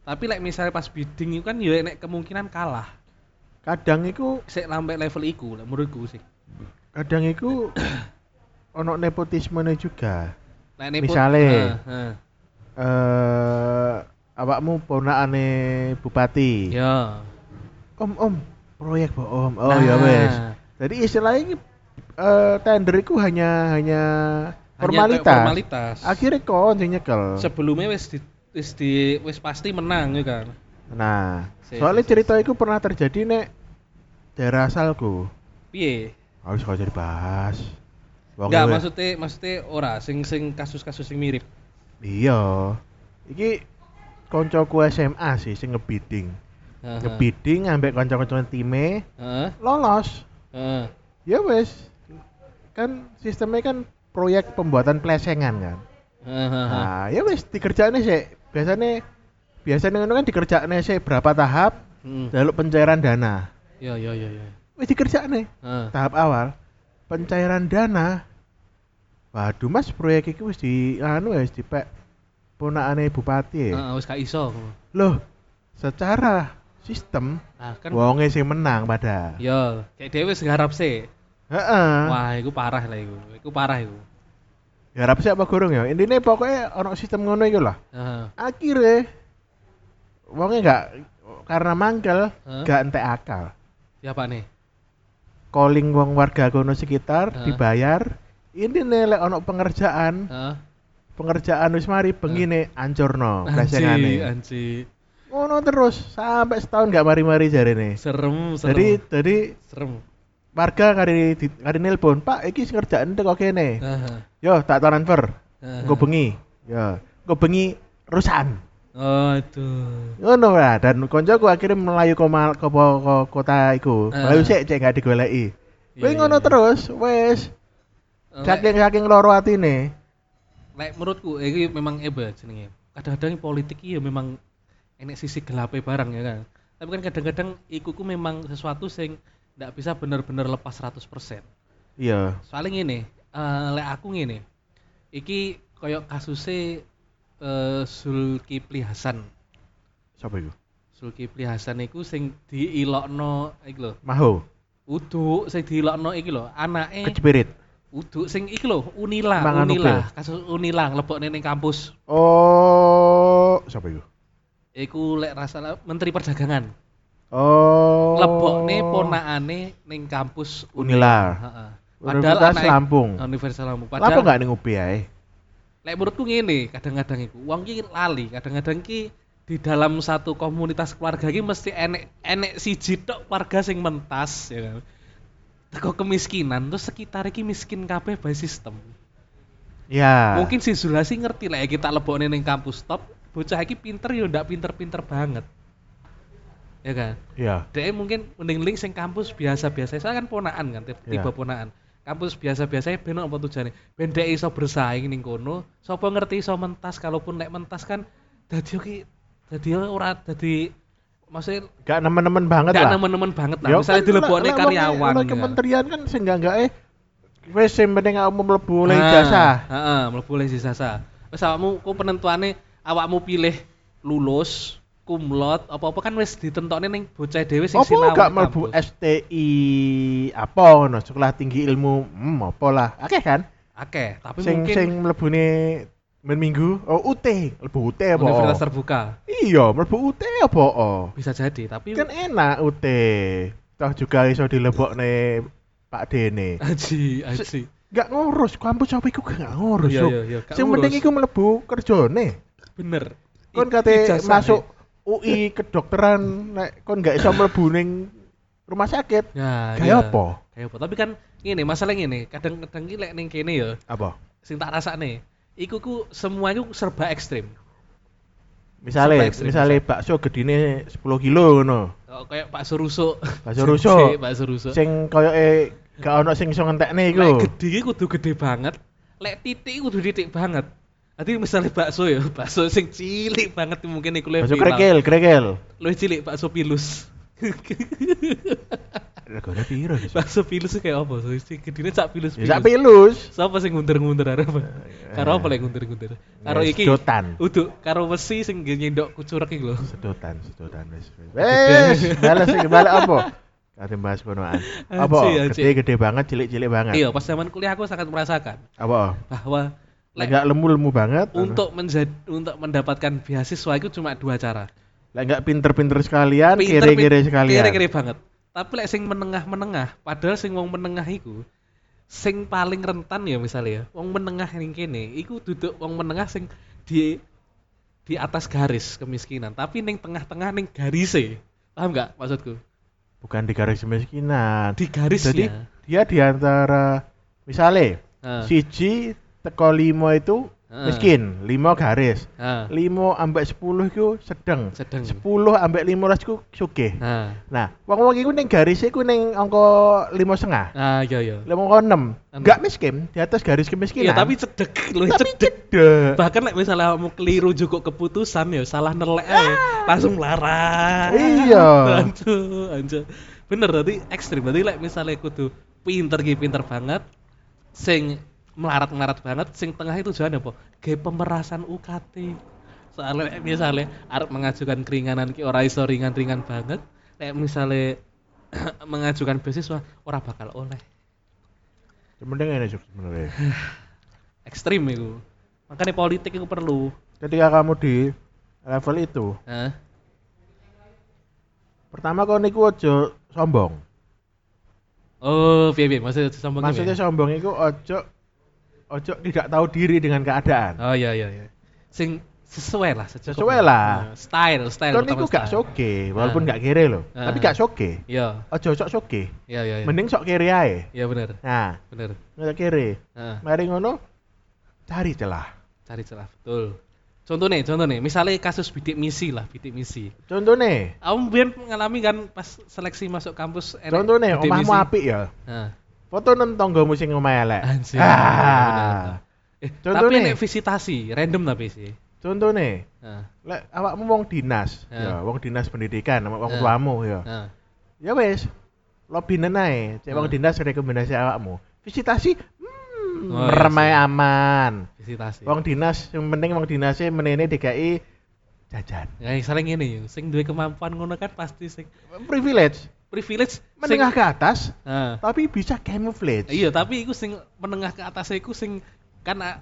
Speaker 1: Tapi like misalnya pas bidding itu kan ya nek kemungkinan kalah.
Speaker 2: kadang iku
Speaker 1: Sik sampai level iku lek menurutku sih.
Speaker 2: kadang iku ono nepotisme juga
Speaker 1: Lek Nah, nepot-
Speaker 2: Misale.
Speaker 1: Heeh, heeh.
Speaker 2: eh awakmu ponakane bupati
Speaker 1: Ya.
Speaker 2: om om proyek po om oh
Speaker 1: Nah,
Speaker 2: ya wes jadi istilahnya eh tender iku hanya hanya
Speaker 1: hanya
Speaker 2: formalitas,
Speaker 1: kayak formalitas.
Speaker 2: akhirnya kon sing nyekel
Speaker 1: Sebelumnya wis di, wis di wis pasti menang ya kan.
Speaker 2: nah
Speaker 1: Si,
Speaker 2: soalnya
Speaker 1: si, si,
Speaker 2: cerita iku pernah terjadi nek daerah asalku Ah,
Speaker 1: Piye?
Speaker 2: harus kau dibahas
Speaker 1: Enggak, maksudnya maksudnya ora sing sing kasus-kasus sing mirip.
Speaker 2: iya iki koncoku SMA sih sing ngebidding
Speaker 1: Heeh.
Speaker 2: ngebidding ambek kanca-kanca time
Speaker 1: Heeh.
Speaker 2: lolos
Speaker 1: heeh.
Speaker 2: ya wes kan sistemnya kan proyek pembuatan plesengan kan
Speaker 1: Heeh, heeh.
Speaker 2: nah ya wes dikerjaannya sih biasanya biasanya ngono kan dikerjaannya sih berapa tahap
Speaker 1: Hmm.
Speaker 2: lalu pencairan dana
Speaker 1: Ya ya ya ya.
Speaker 2: wes dikerjaannya
Speaker 1: Heeh.
Speaker 2: tahap awal pencairan dana waduh mas proyek itu wes di anu wes di pek ponakane bupati ya.
Speaker 1: Heeh, wis gak iso.
Speaker 2: loh secara sistem
Speaker 1: Nah, kan
Speaker 2: wonge sing menang pada
Speaker 1: ya kayak dhewe wis ngharap sih.
Speaker 2: Heeh.
Speaker 1: Wah, iku parah lah iku. Iku parah iku.
Speaker 2: Ya harap sih apa gorong ya. Intinya pokoknya ono sistem ngono iku lah.
Speaker 1: Heeh.
Speaker 2: Akhirnya wonge nggak karena mangkel
Speaker 1: Hah?
Speaker 2: nggak entek akal.
Speaker 1: Ya Pak nih.
Speaker 2: Calling wong warga kono sekitar
Speaker 1: Hah?
Speaker 2: dibayar. Ini lek ono pengerjaan,
Speaker 1: Heeh.
Speaker 2: pengerjaan wis mari bengine ancurno
Speaker 1: Anji,
Speaker 2: plesengane.
Speaker 1: anji.
Speaker 2: Ngono terus sampai setahun nggak mari-mari jarene.
Speaker 1: Serem, serem.
Speaker 2: Jadi jadi
Speaker 1: serem.
Speaker 2: warga kari di- kari nelpon, "Pak, iki sing ngerjakan teko kene."
Speaker 1: Heeh.
Speaker 2: Yo, tak transfer.
Speaker 1: heeh.
Speaker 2: Engko bengi. Yo, engko bengi rusan.
Speaker 1: Oh, aduh.
Speaker 2: ngono lah dan koncoku akhirnya melayu ke mal ke, po- ko- kota iku
Speaker 1: Eh.
Speaker 2: melayu sik cek gak
Speaker 1: Iya,
Speaker 2: digoleki kowe
Speaker 1: iya,
Speaker 2: ngono
Speaker 1: iya.
Speaker 2: terus wes
Speaker 1: Eh,
Speaker 2: saking saking loro atine
Speaker 1: Lek menurutku eh, iki memang eba jenenge. Kadang-kadang politik iki ya memang enek sisi gelape barang ya kan. Tapi kan kadang-kadang iku ku memang sesuatu sing ndak bisa bener-bener lepas 100%.
Speaker 2: iya
Speaker 1: Soalnya ngene, eh, lek aku ngene. Iki koyo kasuse eh, Zulkifli Hasan.
Speaker 2: Siapa itu?
Speaker 1: Zulkifli Hasan iku sing diilokno iki lho.
Speaker 2: Maho,
Speaker 1: Uduk sing diilokno iki lho, anake
Speaker 2: kecepirit.
Speaker 1: uduk sing iki lho, Unila,
Speaker 2: Mangan
Speaker 1: Unila, kasus Unila nglebokne ning kampus.
Speaker 2: Oh, siapa itu?
Speaker 1: Iku lek rasane Menteri Perdagangan.
Speaker 2: Oh.
Speaker 1: Lebokne ponakane ning kampus
Speaker 2: Unila.
Speaker 1: Heeh.
Speaker 2: Universitas
Speaker 1: anake-
Speaker 2: Lampung.
Speaker 1: Universitas Lampung.
Speaker 2: Lapo
Speaker 1: Padahal
Speaker 2: nggak ning UPI ae?
Speaker 1: lek menurutku ngene, kadang-kadang iku wong ki lali, kadang-kadang ki di dalam satu komunitas keluarga ki mesti enek enek siji tok warga sing mentas ya kan. Teko kemiskinan terus sekitar iki miskin kabeh by sistem.
Speaker 2: Ya.
Speaker 1: Mungkin si Zulasi ngerti lah kita lebokne ning kampus top, bocah iki pinter yo ndak pinter-pinter banget. Ya kan?
Speaker 2: ya.
Speaker 1: Dia mungkin mending link sing kampus biasa-biasa. Saya kan ponaan kan, tiba, tiba
Speaker 2: Iya.
Speaker 1: ponaan. Kampus biasa-biasa eh, ben apa tujuane? Ben dhek iso bersaing ning kono, sapa ngerti iso mentas kalaupun nek mentas kan dadi ki dadi ora dadi maksudnya
Speaker 2: Gak nemen-nemen banget
Speaker 1: gak
Speaker 2: lah.
Speaker 1: nemen-nemen banget lah.
Speaker 2: Ya,
Speaker 1: Misalnya
Speaker 2: kan,
Speaker 1: dilebokne
Speaker 2: lah, lah,
Speaker 1: karyawan.
Speaker 2: lah,
Speaker 1: ya.
Speaker 2: kementerian kan sing enggak eh wis sing penting awakmu mlebu oleh
Speaker 1: Ah,
Speaker 2: ijazah.
Speaker 1: Heeh, mlebu oleh ijazah. Wis awakmu ku penentuane awakmu pilih lulus kumlot apa-apa kan wis ditentokne ning bocah dhewe sing
Speaker 2: Apa
Speaker 1: sinau ning
Speaker 2: gak mlebu
Speaker 1: kampus.
Speaker 2: STI apa ngono sekolah tinggi ilmu hmm apa lah akeh kan
Speaker 1: Akeh, tapi
Speaker 2: sing
Speaker 1: mungkin
Speaker 2: sing mlebune ben minggu oh UT mlebu UT apa
Speaker 1: Universitas terbuka
Speaker 2: iya mlebu UT apa oh
Speaker 1: bisa jadi tapi
Speaker 2: kan enak UT toh juga iso dilebokne Pak Dene
Speaker 1: aji aji
Speaker 2: gak ngurus kampus apa iku gak ngurus
Speaker 1: Iya,
Speaker 2: Yuk.
Speaker 1: iya, iya, gak
Speaker 2: sing penting
Speaker 1: ngurus.
Speaker 2: iku mlebu kerjane
Speaker 1: bener
Speaker 2: kon
Speaker 1: I-
Speaker 2: kate
Speaker 1: ijazah,
Speaker 2: masuk UI kedokteran nek kon gak iso mlebu ning rumah sakit
Speaker 1: ya iya.
Speaker 2: Kayak apa?
Speaker 1: kayak apa tapi kan ini masalah ini kadang-kadang ki lek ning kene ya
Speaker 2: apa
Speaker 1: sing tak rasane iku ku semua iku serba ekstrim
Speaker 2: misale
Speaker 1: Serba ekstrim,
Speaker 2: misale bakso gedine 10 kilo ngono
Speaker 1: Oh, kayak Pak Surusuk
Speaker 2: Bakso rusuk.
Speaker 1: Pak Surusuk
Speaker 2: sing koyoke gak ono sing iso ngentekne iku
Speaker 1: lek gede ki kudu gede banget lek titik kudu titik banget Nanti misalnya bakso ya, bakso sing cilik banget mungkin iku lebih
Speaker 2: bakso krekel krekel
Speaker 1: Lebih cilik bakso pilus.
Speaker 2: regane piro iki
Speaker 1: bakso pilus itu kayak apa? So, sing gedine sak pilus.
Speaker 2: ya sak pilus
Speaker 1: Sapa sing ngundur-ngundur arep? Karo apa lek ngundur-ngundur? Karo
Speaker 2: Ya,
Speaker 1: iki.
Speaker 2: sedotan.
Speaker 1: Uduk karo wesi sing nge- nyendok kucurek iki lho.
Speaker 2: sedotan sedotan wis wis bales iki balik apa kate bahas konoan apa
Speaker 1: Anjir, anjir.
Speaker 2: gede-gede banget cilik-cilik banget
Speaker 1: Iya, pas zaman kuliah aku sangat merasakan
Speaker 2: apa
Speaker 1: bahwa lek
Speaker 2: lek gak lemu-lemu banget
Speaker 1: untuk menjadi untuk mendapatkan beasiswa itu cuma dua cara.
Speaker 2: lek gak pinter-pinter sekalian
Speaker 1: Pinter-
Speaker 2: Kan kiri-kiri
Speaker 1: pin-
Speaker 2: sekalian
Speaker 1: Kiri-kiri banget. Tapi lek sing menengah-menengah, padahal sing wong menengah iku sing paling rentan ya misalnya ya. Wong menengah ning kene iku duduk wong menengah sing di di atas garis kemiskinan, tapi ning tengah-tengah ning garise. Paham nggak maksudku?
Speaker 2: bukan di garis kemiskinan
Speaker 1: Di ya? garisnya.
Speaker 2: jadi dia di antara misale
Speaker 1: Ah.
Speaker 2: siji teko limo itu
Speaker 1: Ah.
Speaker 2: miskin limo garis
Speaker 1: Ah.
Speaker 2: limo ambek sepuluh itu sedeng
Speaker 1: Sedeng.
Speaker 2: sepuluh ambek limo ras itu sugih
Speaker 1: Nah.
Speaker 2: nah wong wong itu neng garis itu neng angka limo setengah
Speaker 1: Ah, iya iya.
Speaker 2: limo angka enam
Speaker 1: Enam.
Speaker 2: nggak miskin di atas garis
Speaker 1: Iya,
Speaker 2: kemiskinan
Speaker 1: tapi cedek lu
Speaker 2: tapi
Speaker 1: cedek.
Speaker 2: cedek.
Speaker 1: Bahkan like, misalnya kamu keliru juga keputusan ya, salah nelek ae, langsung larang.
Speaker 2: Iya.
Speaker 1: Aduh, anjir. Bener tadi ekstrim. Berarti like, misalnya kudu pinter ki pinter banget, sing melarat-melarat banget, sing tengah itu jangan apa? Gaya pemerasan UKT. Soalnya like, misalnya arep mengajukan keringanan ki ora iso ringan-ringan banget, like, misalnya mengajukan beasiswa ora bakal oleh.
Speaker 2: Mending ini Juk, sebenarnya.
Speaker 1: ekstrim itu makanya politik itu perlu
Speaker 2: Ketika kamu di level itu,
Speaker 1: Hah?
Speaker 2: pertama kau niku ojo sombong.
Speaker 1: oh biar biar maksudnya ya? sombong
Speaker 2: Maksudnya sombong itu ojo ojo tidak tahu diri dengan keadaan.
Speaker 1: oh iya iya iya sing sesuai lah secukupnya.
Speaker 2: Sesuai lah.
Speaker 1: Nah, style style
Speaker 2: Kon
Speaker 1: pertama
Speaker 2: niku gak
Speaker 1: style.
Speaker 2: soge, walaupun
Speaker 1: Ah.
Speaker 2: gak kere loh.
Speaker 1: Ah.
Speaker 2: Tapi gak soge.
Speaker 1: iya
Speaker 2: Ojo sok soge.
Speaker 1: iya iya iya
Speaker 2: Mending sok kiri ae.
Speaker 1: iya benar
Speaker 2: Nah,
Speaker 1: benar
Speaker 2: ngene kiri.
Speaker 1: Heeh.
Speaker 2: Mari ngono cari celah.
Speaker 1: cari celah betul contoh nih contoh nih misalnya kasus bidik misi lah bidik misi
Speaker 2: Contohnya,
Speaker 1: Aku biar mengalami kan pas seleksi masuk kampus enek
Speaker 2: contohnya
Speaker 1: bidik
Speaker 2: omahmu
Speaker 1: misi.
Speaker 2: apik ya.
Speaker 1: Nah,
Speaker 2: Foto nem tonggomu sing omah elek.
Speaker 1: anjir.
Speaker 2: Ah.
Speaker 1: Eh,
Speaker 2: Contoh
Speaker 1: tapi
Speaker 2: nih.
Speaker 1: nek visitasi random tapi sih.
Speaker 2: Contohnya,
Speaker 1: Nah,
Speaker 2: lek awakmu wong dinas,
Speaker 1: Ah.
Speaker 2: ya wong dinas pendidikan, sama wong
Speaker 1: Ah.
Speaker 2: tuamu ya.
Speaker 1: nah.
Speaker 2: ya wes lobby nenai cek wong
Speaker 1: Hmm.
Speaker 2: dinas rekomendasi awakmu visitasi hmm
Speaker 1: Oh, iya
Speaker 2: remai
Speaker 1: sih. Iya.
Speaker 2: aman
Speaker 1: visitasi.
Speaker 2: wong dinas yang penting wong dinasnya menene DKI jajan
Speaker 1: Ya sering ini, sing duwe kemampuan ngono kan pasti sing
Speaker 2: privilege
Speaker 1: privilege sing-
Speaker 2: menengah ke atas
Speaker 1: Nah,
Speaker 2: tapi bisa camouflage
Speaker 1: iya tapi iku sing menengah ke atas iku sing kan eh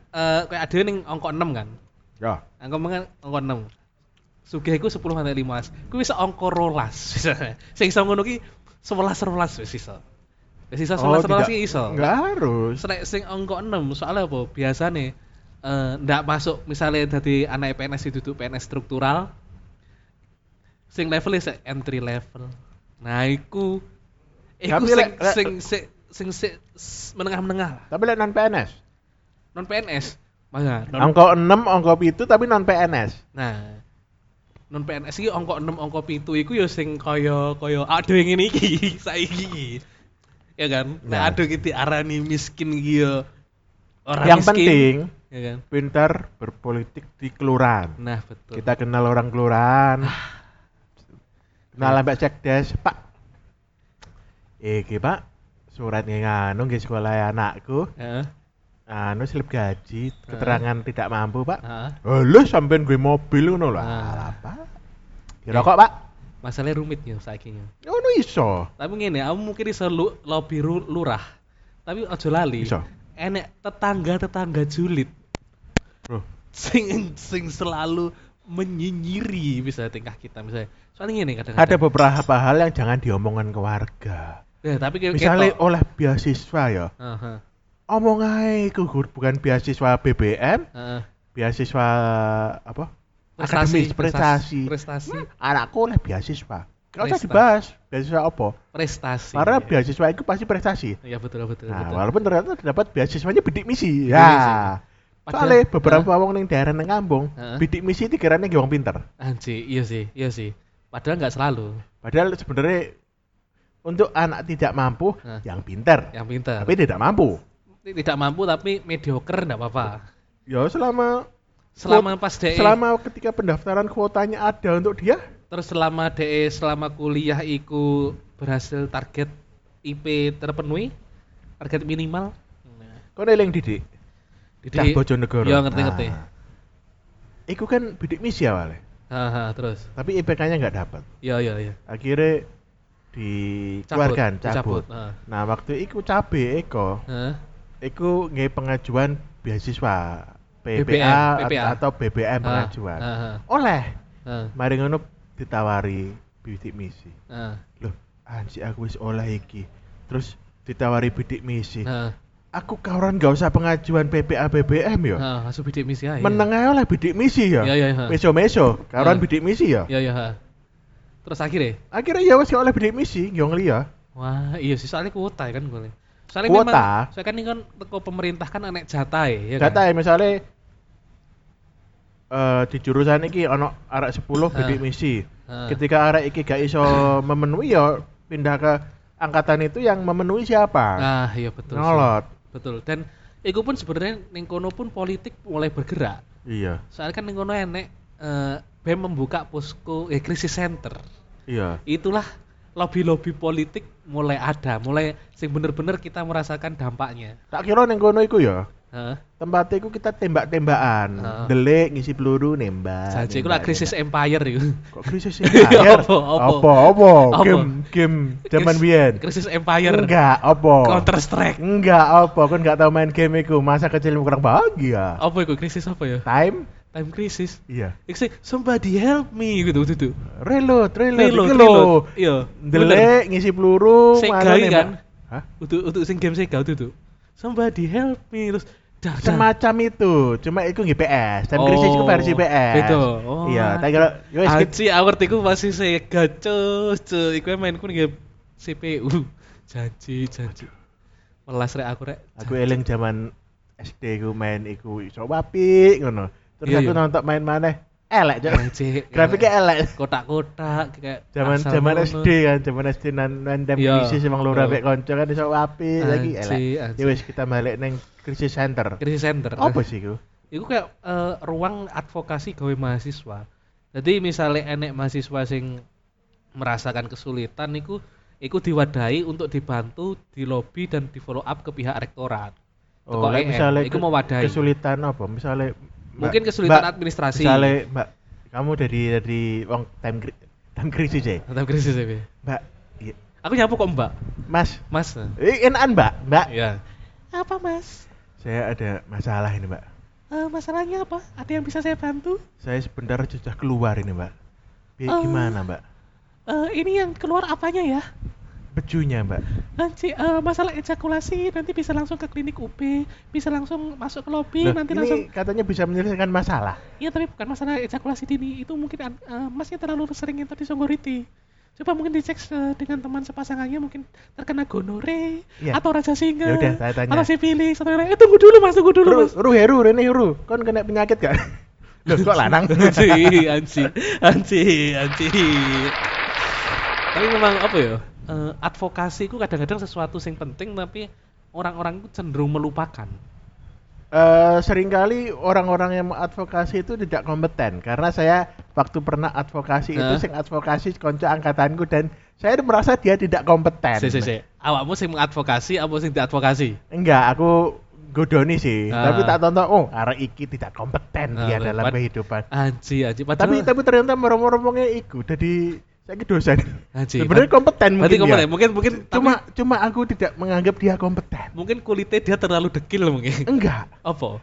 Speaker 1: kayak ada ning angka 6 kan.
Speaker 2: ya
Speaker 1: Angka mengen angka 6. Sugih iku 10 sampai 15. Kuwi iso angka 12. Sing iso ngono ki 11 12 wis iso. Wis iso 11
Speaker 2: Oh, tidak-
Speaker 1: 12 ki iso.
Speaker 2: nggak harus
Speaker 1: Nek sing angka 6 soalnya apa? Biasane eh ndak masuk misalnya dari anak PNS itu duduk PNS struktural sing levelnya sik entry level. Nah, iku iku
Speaker 2: Tapi
Speaker 1: sing
Speaker 2: lek- lek-
Speaker 1: sing sing sing sing- s- menengah-menengah lah.
Speaker 2: tapi lek non PNS
Speaker 1: Non PNS. Mana? Non,
Speaker 2: angka 6 angka itu tapi non PNS
Speaker 1: nah. Non PNS iki angka 6 angka 7 iku ya sing kaya kaya aduh yang ini iki saiki iki. Ya kan?
Speaker 2: Nah.
Speaker 1: Nah, aduh iki diarani miskin iki ya. Orang
Speaker 2: yang
Speaker 1: miskin.
Speaker 2: penting
Speaker 1: Ya kan?
Speaker 2: pintar berpolitik di kelurahan
Speaker 1: Nah, betul. Ah.
Speaker 2: kita kenal orang kelurahan kenal sampai sekdes pak iki pak surat yang anu nggih sekolah anakku
Speaker 1: Heeh.
Speaker 2: anu slip gaji keterangan
Speaker 1: Eh.
Speaker 2: tidak mampu pak Eh,
Speaker 1: Heeh.
Speaker 2: Halo, sampean gue mobil ngono lah.
Speaker 1: Ah.
Speaker 2: Apa? Dirokok, Pak.
Speaker 1: Masalahnya rumit ya saiki ya.
Speaker 2: Ngono iso.
Speaker 1: Tapi ngene, aku mungkin iso lu, lobby ru- lurah. Tapi aja lali.
Speaker 2: Iso.
Speaker 1: Enek tetangga-tetangga julid
Speaker 2: Bro,
Speaker 1: sing sing selalu menyinyiri bisa tingkah kita misalnya. Soalnya ngene kadang-kadang.
Speaker 2: ada beberapa hal yang jangan diomongkan ke warga.
Speaker 1: Ya, tapi kayak
Speaker 2: Misalnya oh- oleh beasiswa ya.
Speaker 1: Heeh.
Speaker 2: Omong ae iku, Gur. bukan beasiswa BBM,
Speaker 1: Heeh.
Speaker 2: beasiswa apa?
Speaker 1: Prestasi,
Speaker 2: Akademis, prestasi.
Speaker 1: prestasi,
Speaker 2: Hmm, anakku oleh beasiswa. Gak usah
Speaker 1: Prestasi.
Speaker 2: dibahas beasiswa apa.
Speaker 1: prestasi.
Speaker 2: Karena beasiswa itu pasti prestasi.
Speaker 1: Iya betul betul
Speaker 2: Nah,
Speaker 1: betul.
Speaker 2: walaupun ternyata terdapat beasiswanya bidik
Speaker 1: Bidik
Speaker 2: misi. Ya.
Speaker 1: Padahal-
Speaker 2: Soalnya beberapa wong ning daerah ning kampung,
Speaker 1: Heeh.
Speaker 2: bidik misi itu kirane nggih wong pinter.
Speaker 1: Anji, iya sih, iya sih. Padahal nggak selalu
Speaker 2: Padahal sebenarnya untuk anak tidak mampu
Speaker 1: Hah. Ya.
Speaker 2: yang pintar,
Speaker 1: yang pintar.
Speaker 2: tapi tidak mampu.
Speaker 1: tidak mampu tapi mediocre enggak apa-apa.
Speaker 2: Ya selama
Speaker 1: Selama pas E, DE
Speaker 2: selama ketika pendaftaran kuotanya ada untuk dia,
Speaker 1: terus selama DE selama kuliah iku berhasil target IP terpenuhi, target minimal.
Speaker 2: kau neling didik. Cah Bojonegoro.
Speaker 1: Iya ngerti-ngerti.
Speaker 2: Nah, Iku kan bidik misi awalnya,
Speaker 1: Haha, terus.
Speaker 2: tapi IPK-nya nggak dapat.
Speaker 1: Iya iya iya.
Speaker 2: Akhirnya dikeluarkan cabut.
Speaker 1: Heeh.
Speaker 2: Nah waktu itu cabe Eko,
Speaker 1: Heeh.
Speaker 2: Iku nggih pengajuan beasiswa PPA,
Speaker 1: BBM,
Speaker 2: at-
Speaker 1: PPA.
Speaker 2: atau
Speaker 1: Ah,
Speaker 2: BBM pengajuan.
Speaker 1: Heeh.
Speaker 2: Oleh
Speaker 1: Heeh.
Speaker 2: mari ngono ditawari bidik misi.
Speaker 1: Heeh.
Speaker 2: Loh, anji aku wis oleh iki. Terus ditawari bidik misi.
Speaker 1: Heeh.
Speaker 2: Aku kawaran gak usah pengajuan PPA BBM ya.
Speaker 1: Heeh, langsung bidik misi iya. aja.
Speaker 2: Meneng ae oleh bidik misi ya.
Speaker 1: Ah, Iya, iya, iya.
Speaker 2: Meso-meso, kawaran
Speaker 1: Iya.
Speaker 2: bidik misi ya.
Speaker 1: Iya iya. ha. Terus akhirnya
Speaker 2: Akhirnya ya wis gak oleh bidik misi, yo ngeli ya.
Speaker 1: Wah, iya sih soalnya kuota ya kan gue. Soalnya
Speaker 2: Kuota?
Speaker 1: memang, soalnya kan ini kan teko pemerintah kan anek jatah ya, ya
Speaker 2: Kata
Speaker 1: kan.
Speaker 2: ya misalnya eh di jurusan iki ono arek 10 bidik
Speaker 1: Hah.
Speaker 2: misi.
Speaker 1: Hah.
Speaker 2: Ketika arek iki gak iso memenuhi ya pindah ke angkatan itu yang memenuhi siapa?
Speaker 1: Nah, iya betul. sih.
Speaker 2: Nolot.
Speaker 1: Betul. Dan iku pun sebenarnya ning kono pun politik mulai bergerak.
Speaker 2: Iya.
Speaker 1: Soalnya kan ning kono enek eh, BEM membuka posko eh krisis center.
Speaker 2: Iya.
Speaker 1: Itulah lobby-lobby politik mulai ada, mulai sing bener-bener kita merasakan dampaknya.
Speaker 2: Tak kira ning kono iku ya.
Speaker 1: Heeh.
Speaker 2: Tempatnya iku kita tembak-tembakan.
Speaker 1: Heeh.
Speaker 2: Delik ngisi peluru nembak.
Speaker 1: Jadi Ah. iku lah
Speaker 2: nembak,
Speaker 1: krisis
Speaker 2: nembak.
Speaker 1: empire iku.
Speaker 2: Kok krisis empire?
Speaker 1: Apa, apa?
Speaker 2: Apa apa?
Speaker 1: Apa?
Speaker 2: Game game zaman
Speaker 1: Kris-
Speaker 2: biyen.
Speaker 1: Krisis empire.
Speaker 2: Enggak, apa?
Speaker 1: Counter Strike.
Speaker 2: Enggak, apa? Kan enggak tahu main game iku. Masa kecilmu kurang bahagia.
Speaker 1: Apa iku krisis apa ya?
Speaker 2: Time?
Speaker 1: Time krisis.
Speaker 2: Iya.
Speaker 1: Iku sih, somebody help me gitu gitu. tuh.
Speaker 2: Reload,
Speaker 1: Reload,
Speaker 2: reload, iki lho.
Speaker 1: reload. Iya. bener.
Speaker 2: Delik ngisi peluru,
Speaker 1: Sega
Speaker 2: malah
Speaker 1: iki
Speaker 2: nembak.
Speaker 1: kan?
Speaker 2: Hah?
Speaker 1: Untuk untuk sing game Sega itu tuh. Somebody help me terus dar dar.
Speaker 2: Semacam itu, cuma itu nggih PS. Time
Speaker 1: Oh,
Speaker 2: Crisis Nah, itu versi PS.
Speaker 1: beda. Oh,
Speaker 2: Iya,
Speaker 1: aduh.
Speaker 2: tak kira yo wis kita-
Speaker 1: Aji awet iku masih Sega cus cus. Iku mainku nggih CPU. Janji janji. Melas rek aku rek.
Speaker 2: aku eling zaman SD ku main iku iso apik ngono. Terus
Speaker 1: Iya,
Speaker 2: aku
Speaker 1: iya.
Speaker 2: nonton main maneh elek cok.
Speaker 1: Janji.
Speaker 2: Grafiknya elek.
Speaker 1: kotak-kotak kayak
Speaker 2: Zaman
Speaker 1: asal
Speaker 2: zaman
Speaker 1: ngono.
Speaker 2: SD kan, zaman SD nan nan time
Speaker 1: Iya,
Speaker 2: Crisis emang lurah
Speaker 1: betul.
Speaker 2: mek kanca kan iso apik lagi
Speaker 1: Anjir,
Speaker 2: elek. Ya
Speaker 1: anjir.
Speaker 2: wis kita balik neng Crisis Center.
Speaker 1: Krisis center.
Speaker 2: Apa sih iku?
Speaker 1: Iku kayak eh, ruang advokasi gawe mahasiswa. Jadi misalnya enek mahasiswa sing merasakan kesulitan iku iku diwadahi untuk dibantu, di lobby dan di follow up ke pihak rektorat.
Speaker 2: Oh,
Speaker 1: Teko
Speaker 2: lek
Speaker 1: EM.
Speaker 2: misalnya
Speaker 1: Iku
Speaker 2: ke-
Speaker 1: mewadahi.
Speaker 2: kesulitan apa? Misalnya Mbak-
Speaker 1: Mungkin kesulitan
Speaker 2: Mbak,
Speaker 1: administrasi.
Speaker 2: Misalnya Mbak, kamu dari dari wong time kri- time krisis ya.
Speaker 1: Tetap krisis ya, Bi.
Speaker 2: Mbak, iya.
Speaker 1: Aku nyapu kok, Mbak.
Speaker 2: Mas,
Speaker 1: Mas.
Speaker 2: eh, enakan Mbak, Mbak.
Speaker 1: Iya. Apa, Mas?
Speaker 2: Saya ada masalah ini Mbak.
Speaker 1: Eh, masalahnya apa? Ada yang bisa saya bantu?
Speaker 2: Saya sebentar sudah keluar ini Mbak. Bi,
Speaker 1: Oh.
Speaker 2: gimana Mbak?
Speaker 1: Eh, ini yang keluar apanya ya?
Speaker 2: Bejunya Mbak.
Speaker 1: Nanti eh, masalah ejakulasi nanti bisa langsung ke klinik UB, bisa langsung masuk ke lobi,
Speaker 2: Loh,
Speaker 1: nanti
Speaker 2: ini
Speaker 1: langsung.
Speaker 2: katanya bisa menyelesaikan masalah.
Speaker 1: Iya, tapi bukan masalah ejakulasi dini. Itu mungkin eh, masnya terlalu sering yang tadi songgoriti. Coba mungkin dicek eh, dengan teman sepasangannya mungkin terkena gonore
Speaker 2: Iya.
Speaker 1: atau raja singa.
Speaker 2: Yaudah, saya tanya.
Speaker 1: Atau sifilis atau yang lain. Eh, tunggu dulu, Mas, tunggu dulu,
Speaker 2: Ru,
Speaker 1: Mas.
Speaker 2: ru heru, rene heru. Kon kena penyakit gak? Loh, kok lanang?
Speaker 1: anci, anci, anci, anci. Tapi memang apa ya? eh, advokasi itu kadang-kadang sesuatu yang penting tapi orang-orang itu cenderung melupakan.
Speaker 2: Eh, seringkali orang-orang yang advokasi itu tidak kompeten karena saya waktu pernah advokasi itu
Speaker 1: Hah?
Speaker 2: sing advokasi konco angkatanku dan saya merasa dia tidak kompeten.
Speaker 1: Si, si, si. Awakmu sing mengadvokasi, apa sing diadvokasi?
Speaker 2: Enggak, aku godoni sih,
Speaker 1: Ah.
Speaker 2: tapi tak tonton oh arah iki tidak kompeten
Speaker 1: Ah,
Speaker 2: dia
Speaker 1: bener.
Speaker 2: dalam
Speaker 1: Pad-
Speaker 2: kehidupan.
Speaker 1: Anci, anci.
Speaker 2: Tapi
Speaker 1: Padahal,
Speaker 2: tapi ternyata meromong-romongnya iku jadi saya dosen.
Speaker 1: anci.
Speaker 2: Sebenarnya
Speaker 1: pad-
Speaker 2: kompeten
Speaker 1: berarti
Speaker 2: mungkin
Speaker 1: kamu
Speaker 2: dia.
Speaker 1: ya, mungkin mungkin
Speaker 2: Cuma
Speaker 1: cuma
Speaker 2: cuma aku tidak menganggap dia kompeten.
Speaker 1: mungkin kulitnya dia terlalu dekil mungkin.
Speaker 2: Enggak,
Speaker 1: apa?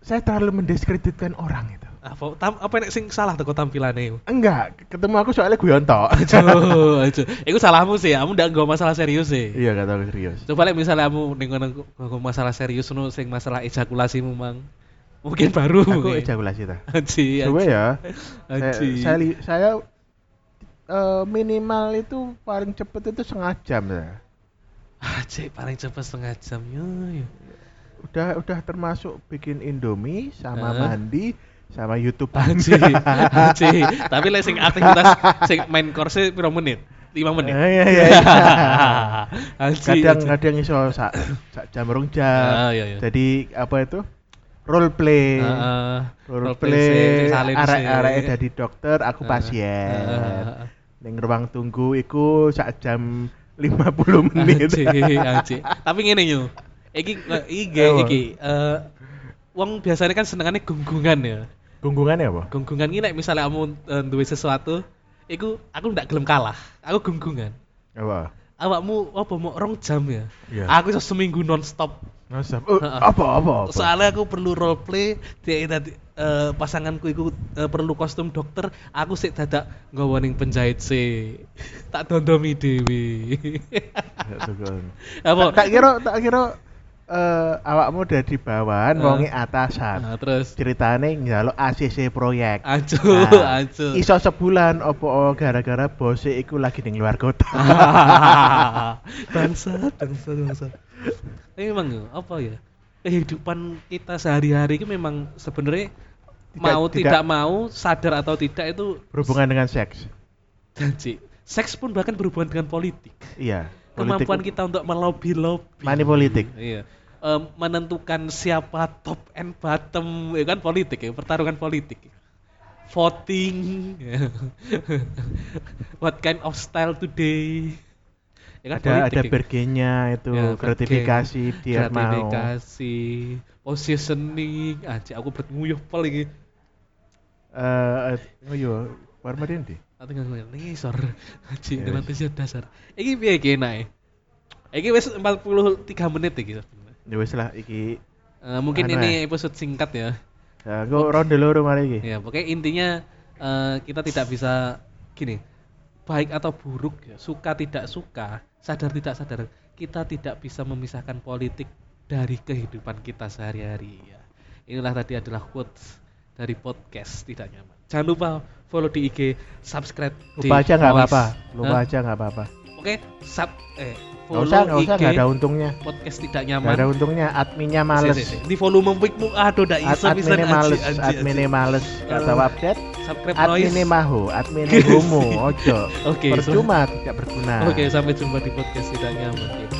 Speaker 2: saya terlalu mendiskreditkan orang itu.
Speaker 1: Apa tam, apa nek sing salah teko tampilane iku?
Speaker 2: Enggak, ketemu aku soalnya guyon tok.
Speaker 1: Aduh, aduh. Iku salahmu sih, kamu ndak nggo masalah serius sih.
Speaker 2: Iya kata aku serius.
Speaker 1: Coba lek misalnya kamu ning kono nggo masalah serius no sing masalah ejakulasimu mang. Mungkin baru
Speaker 2: Aku
Speaker 1: mungkin.
Speaker 2: ejakulasi ta.
Speaker 1: Anji,
Speaker 2: Coba
Speaker 1: anji.
Speaker 2: ya. Saya,
Speaker 1: Anji.
Speaker 2: saya, li- saya eh, minimal itu paling cepet itu setengah jam ya.
Speaker 1: Anji, paling cepat setengah jam yo. yo.
Speaker 2: Udah udah termasuk bikin Indomie sama
Speaker 1: Eh.
Speaker 2: mandi sama YouTube.
Speaker 1: Anji, anji. Tapi lek sing aktivitas sing main course piro menit? 5 menit.
Speaker 2: Eh, iya, iya, iya.
Speaker 1: anji. anji.
Speaker 2: Kadang-kadang iso sak, sak jam rong jam.
Speaker 1: Ah, iya, Ah, iya.
Speaker 2: Jadi apa itu? Role play.
Speaker 1: Heeh.
Speaker 2: role
Speaker 1: sing- sing
Speaker 2: play.
Speaker 1: salin sing.
Speaker 2: Arek-arek dadi dokter,
Speaker 1: Heeh.
Speaker 2: aku
Speaker 1: Heeh,
Speaker 2: pasien.
Speaker 1: heeh.
Speaker 2: Ning ruang tunggu iku sak jam 50 menit.
Speaker 1: Anjing, anjing. Tapi ngene yo. Iki iki ge-
Speaker 2: Apa?
Speaker 1: iki eh wong biasanya kan senengane gunggungan ya.
Speaker 2: Gunggungannya apa?
Speaker 1: Gunggungan ini nek misalnya kamu eh, duwe sesuatu, iku aku ndak gelem kalah. Aku gunggungan.
Speaker 2: Apa?
Speaker 1: Awakmu apa mau rong jam ya?
Speaker 2: Iya.
Speaker 1: Aku iso seminggu nonstop.
Speaker 2: Nasab. Oh,
Speaker 1: Heeh.
Speaker 2: apa apa apa?
Speaker 1: Soalnya aku perlu role play, dia tadi eh, pasanganku iku eh, perlu kostum dokter, aku sik dadak nggawa ning penjahit sih. tak dondomi dewi.
Speaker 2: Apa?
Speaker 1: apa?
Speaker 2: Tak kira tak kira eh, awakmu dari
Speaker 1: Eh.
Speaker 2: bawahan wonge e atasan.
Speaker 1: Nah, terus
Speaker 2: Ceritane njaluk ACC proyek.
Speaker 1: Ancu,
Speaker 2: Nah,
Speaker 1: ancu.
Speaker 2: Iso sebulan opo gara-gara bose iku lagi ning luar kota.
Speaker 1: bangsat, bangsat, bangsat. Tapi memang ya, apa ya? Kehidupan kita sehari-hari itu memang sebenarnya
Speaker 2: Tidak-
Speaker 1: mau tidak,
Speaker 2: tidak-
Speaker 1: mau sadar atau tidak itu
Speaker 2: Berhubungan dengan seks.
Speaker 1: janji. Seks pun bahkan berhubungan dengan politik.
Speaker 2: Iya. politik-
Speaker 1: Kemampuan kita untuk melobi-lobi.
Speaker 2: money politik.
Speaker 1: Iya. Em, menentukan siapa top and bottom ya kan politik ya, pertarungan politik. Voting. ya. What kind of style today? Ya kan
Speaker 2: ada ada
Speaker 1: politik ya.
Speaker 2: bergennya itu
Speaker 1: Ya,
Speaker 2: gratifikasi
Speaker 1: bergen,
Speaker 2: dia mau.
Speaker 1: gratifikasi, positioning. Anjir, aku berat nguyuh pel iki.
Speaker 2: Eh, oh iya, warma dendi.
Speaker 1: Aku nggak nguyuh ngisor. Anjir,
Speaker 2: Ya,
Speaker 1: dengan
Speaker 2: wis.
Speaker 1: tesis dasar. Iki piye iki enake? Iki wis 43 menit iki. sebenarnya.
Speaker 2: Ya wis lah iki.
Speaker 1: Eh, mungkin
Speaker 2: Anu
Speaker 1: ini episode singkat ya.
Speaker 2: Ya, aku ronde loro mari iki.
Speaker 1: Ya, pokoknya intinya eh, kita tidak bisa gini, baik atau buruk, ya, suka tidak suka, sadar tidak sadar, kita tidak bisa memisahkan politik dari kehidupan kita sehari-hari. Ya. Inilah tadi adalah quotes dari podcast tidak nyaman. Jangan lupa follow di IG, subscribe di
Speaker 2: Lupa aja nggak
Speaker 1: Voice.
Speaker 2: apa-apa. Lupa
Speaker 1: Hah?
Speaker 2: aja nggak apa-apa.
Speaker 1: Oke, sub eh
Speaker 2: Nggak
Speaker 1: follow
Speaker 2: usah, nggak usah,
Speaker 1: IG
Speaker 2: nggak ada untungnya.
Speaker 1: podcast tidak
Speaker 2: Nggak ada
Speaker 1: nyaman.
Speaker 2: untungnya, adminnya
Speaker 1: Si,
Speaker 2: males.
Speaker 1: si, si. Di volume mic-mu aduh ndak
Speaker 2: Ad
Speaker 1: iso pisan,
Speaker 2: adminnya
Speaker 1: anjing,
Speaker 2: males,
Speaker 1: anjing, anjing.
Speaker 2: adminnya males. Nggak
Speaker 1: Eh,
Speaker 2: tahu update.
Speaker 1: Subscribe
Speaker 2: Adminnya
Speaker 1: noise.
Speaker 2: maho, adminnya homo, ojo.
Speaker 1: Oke,
Speaker 2: Percuma tidak berguna. Nah.
Speaker 1: Oke, sampai jumpa di podcast tidak nyaman.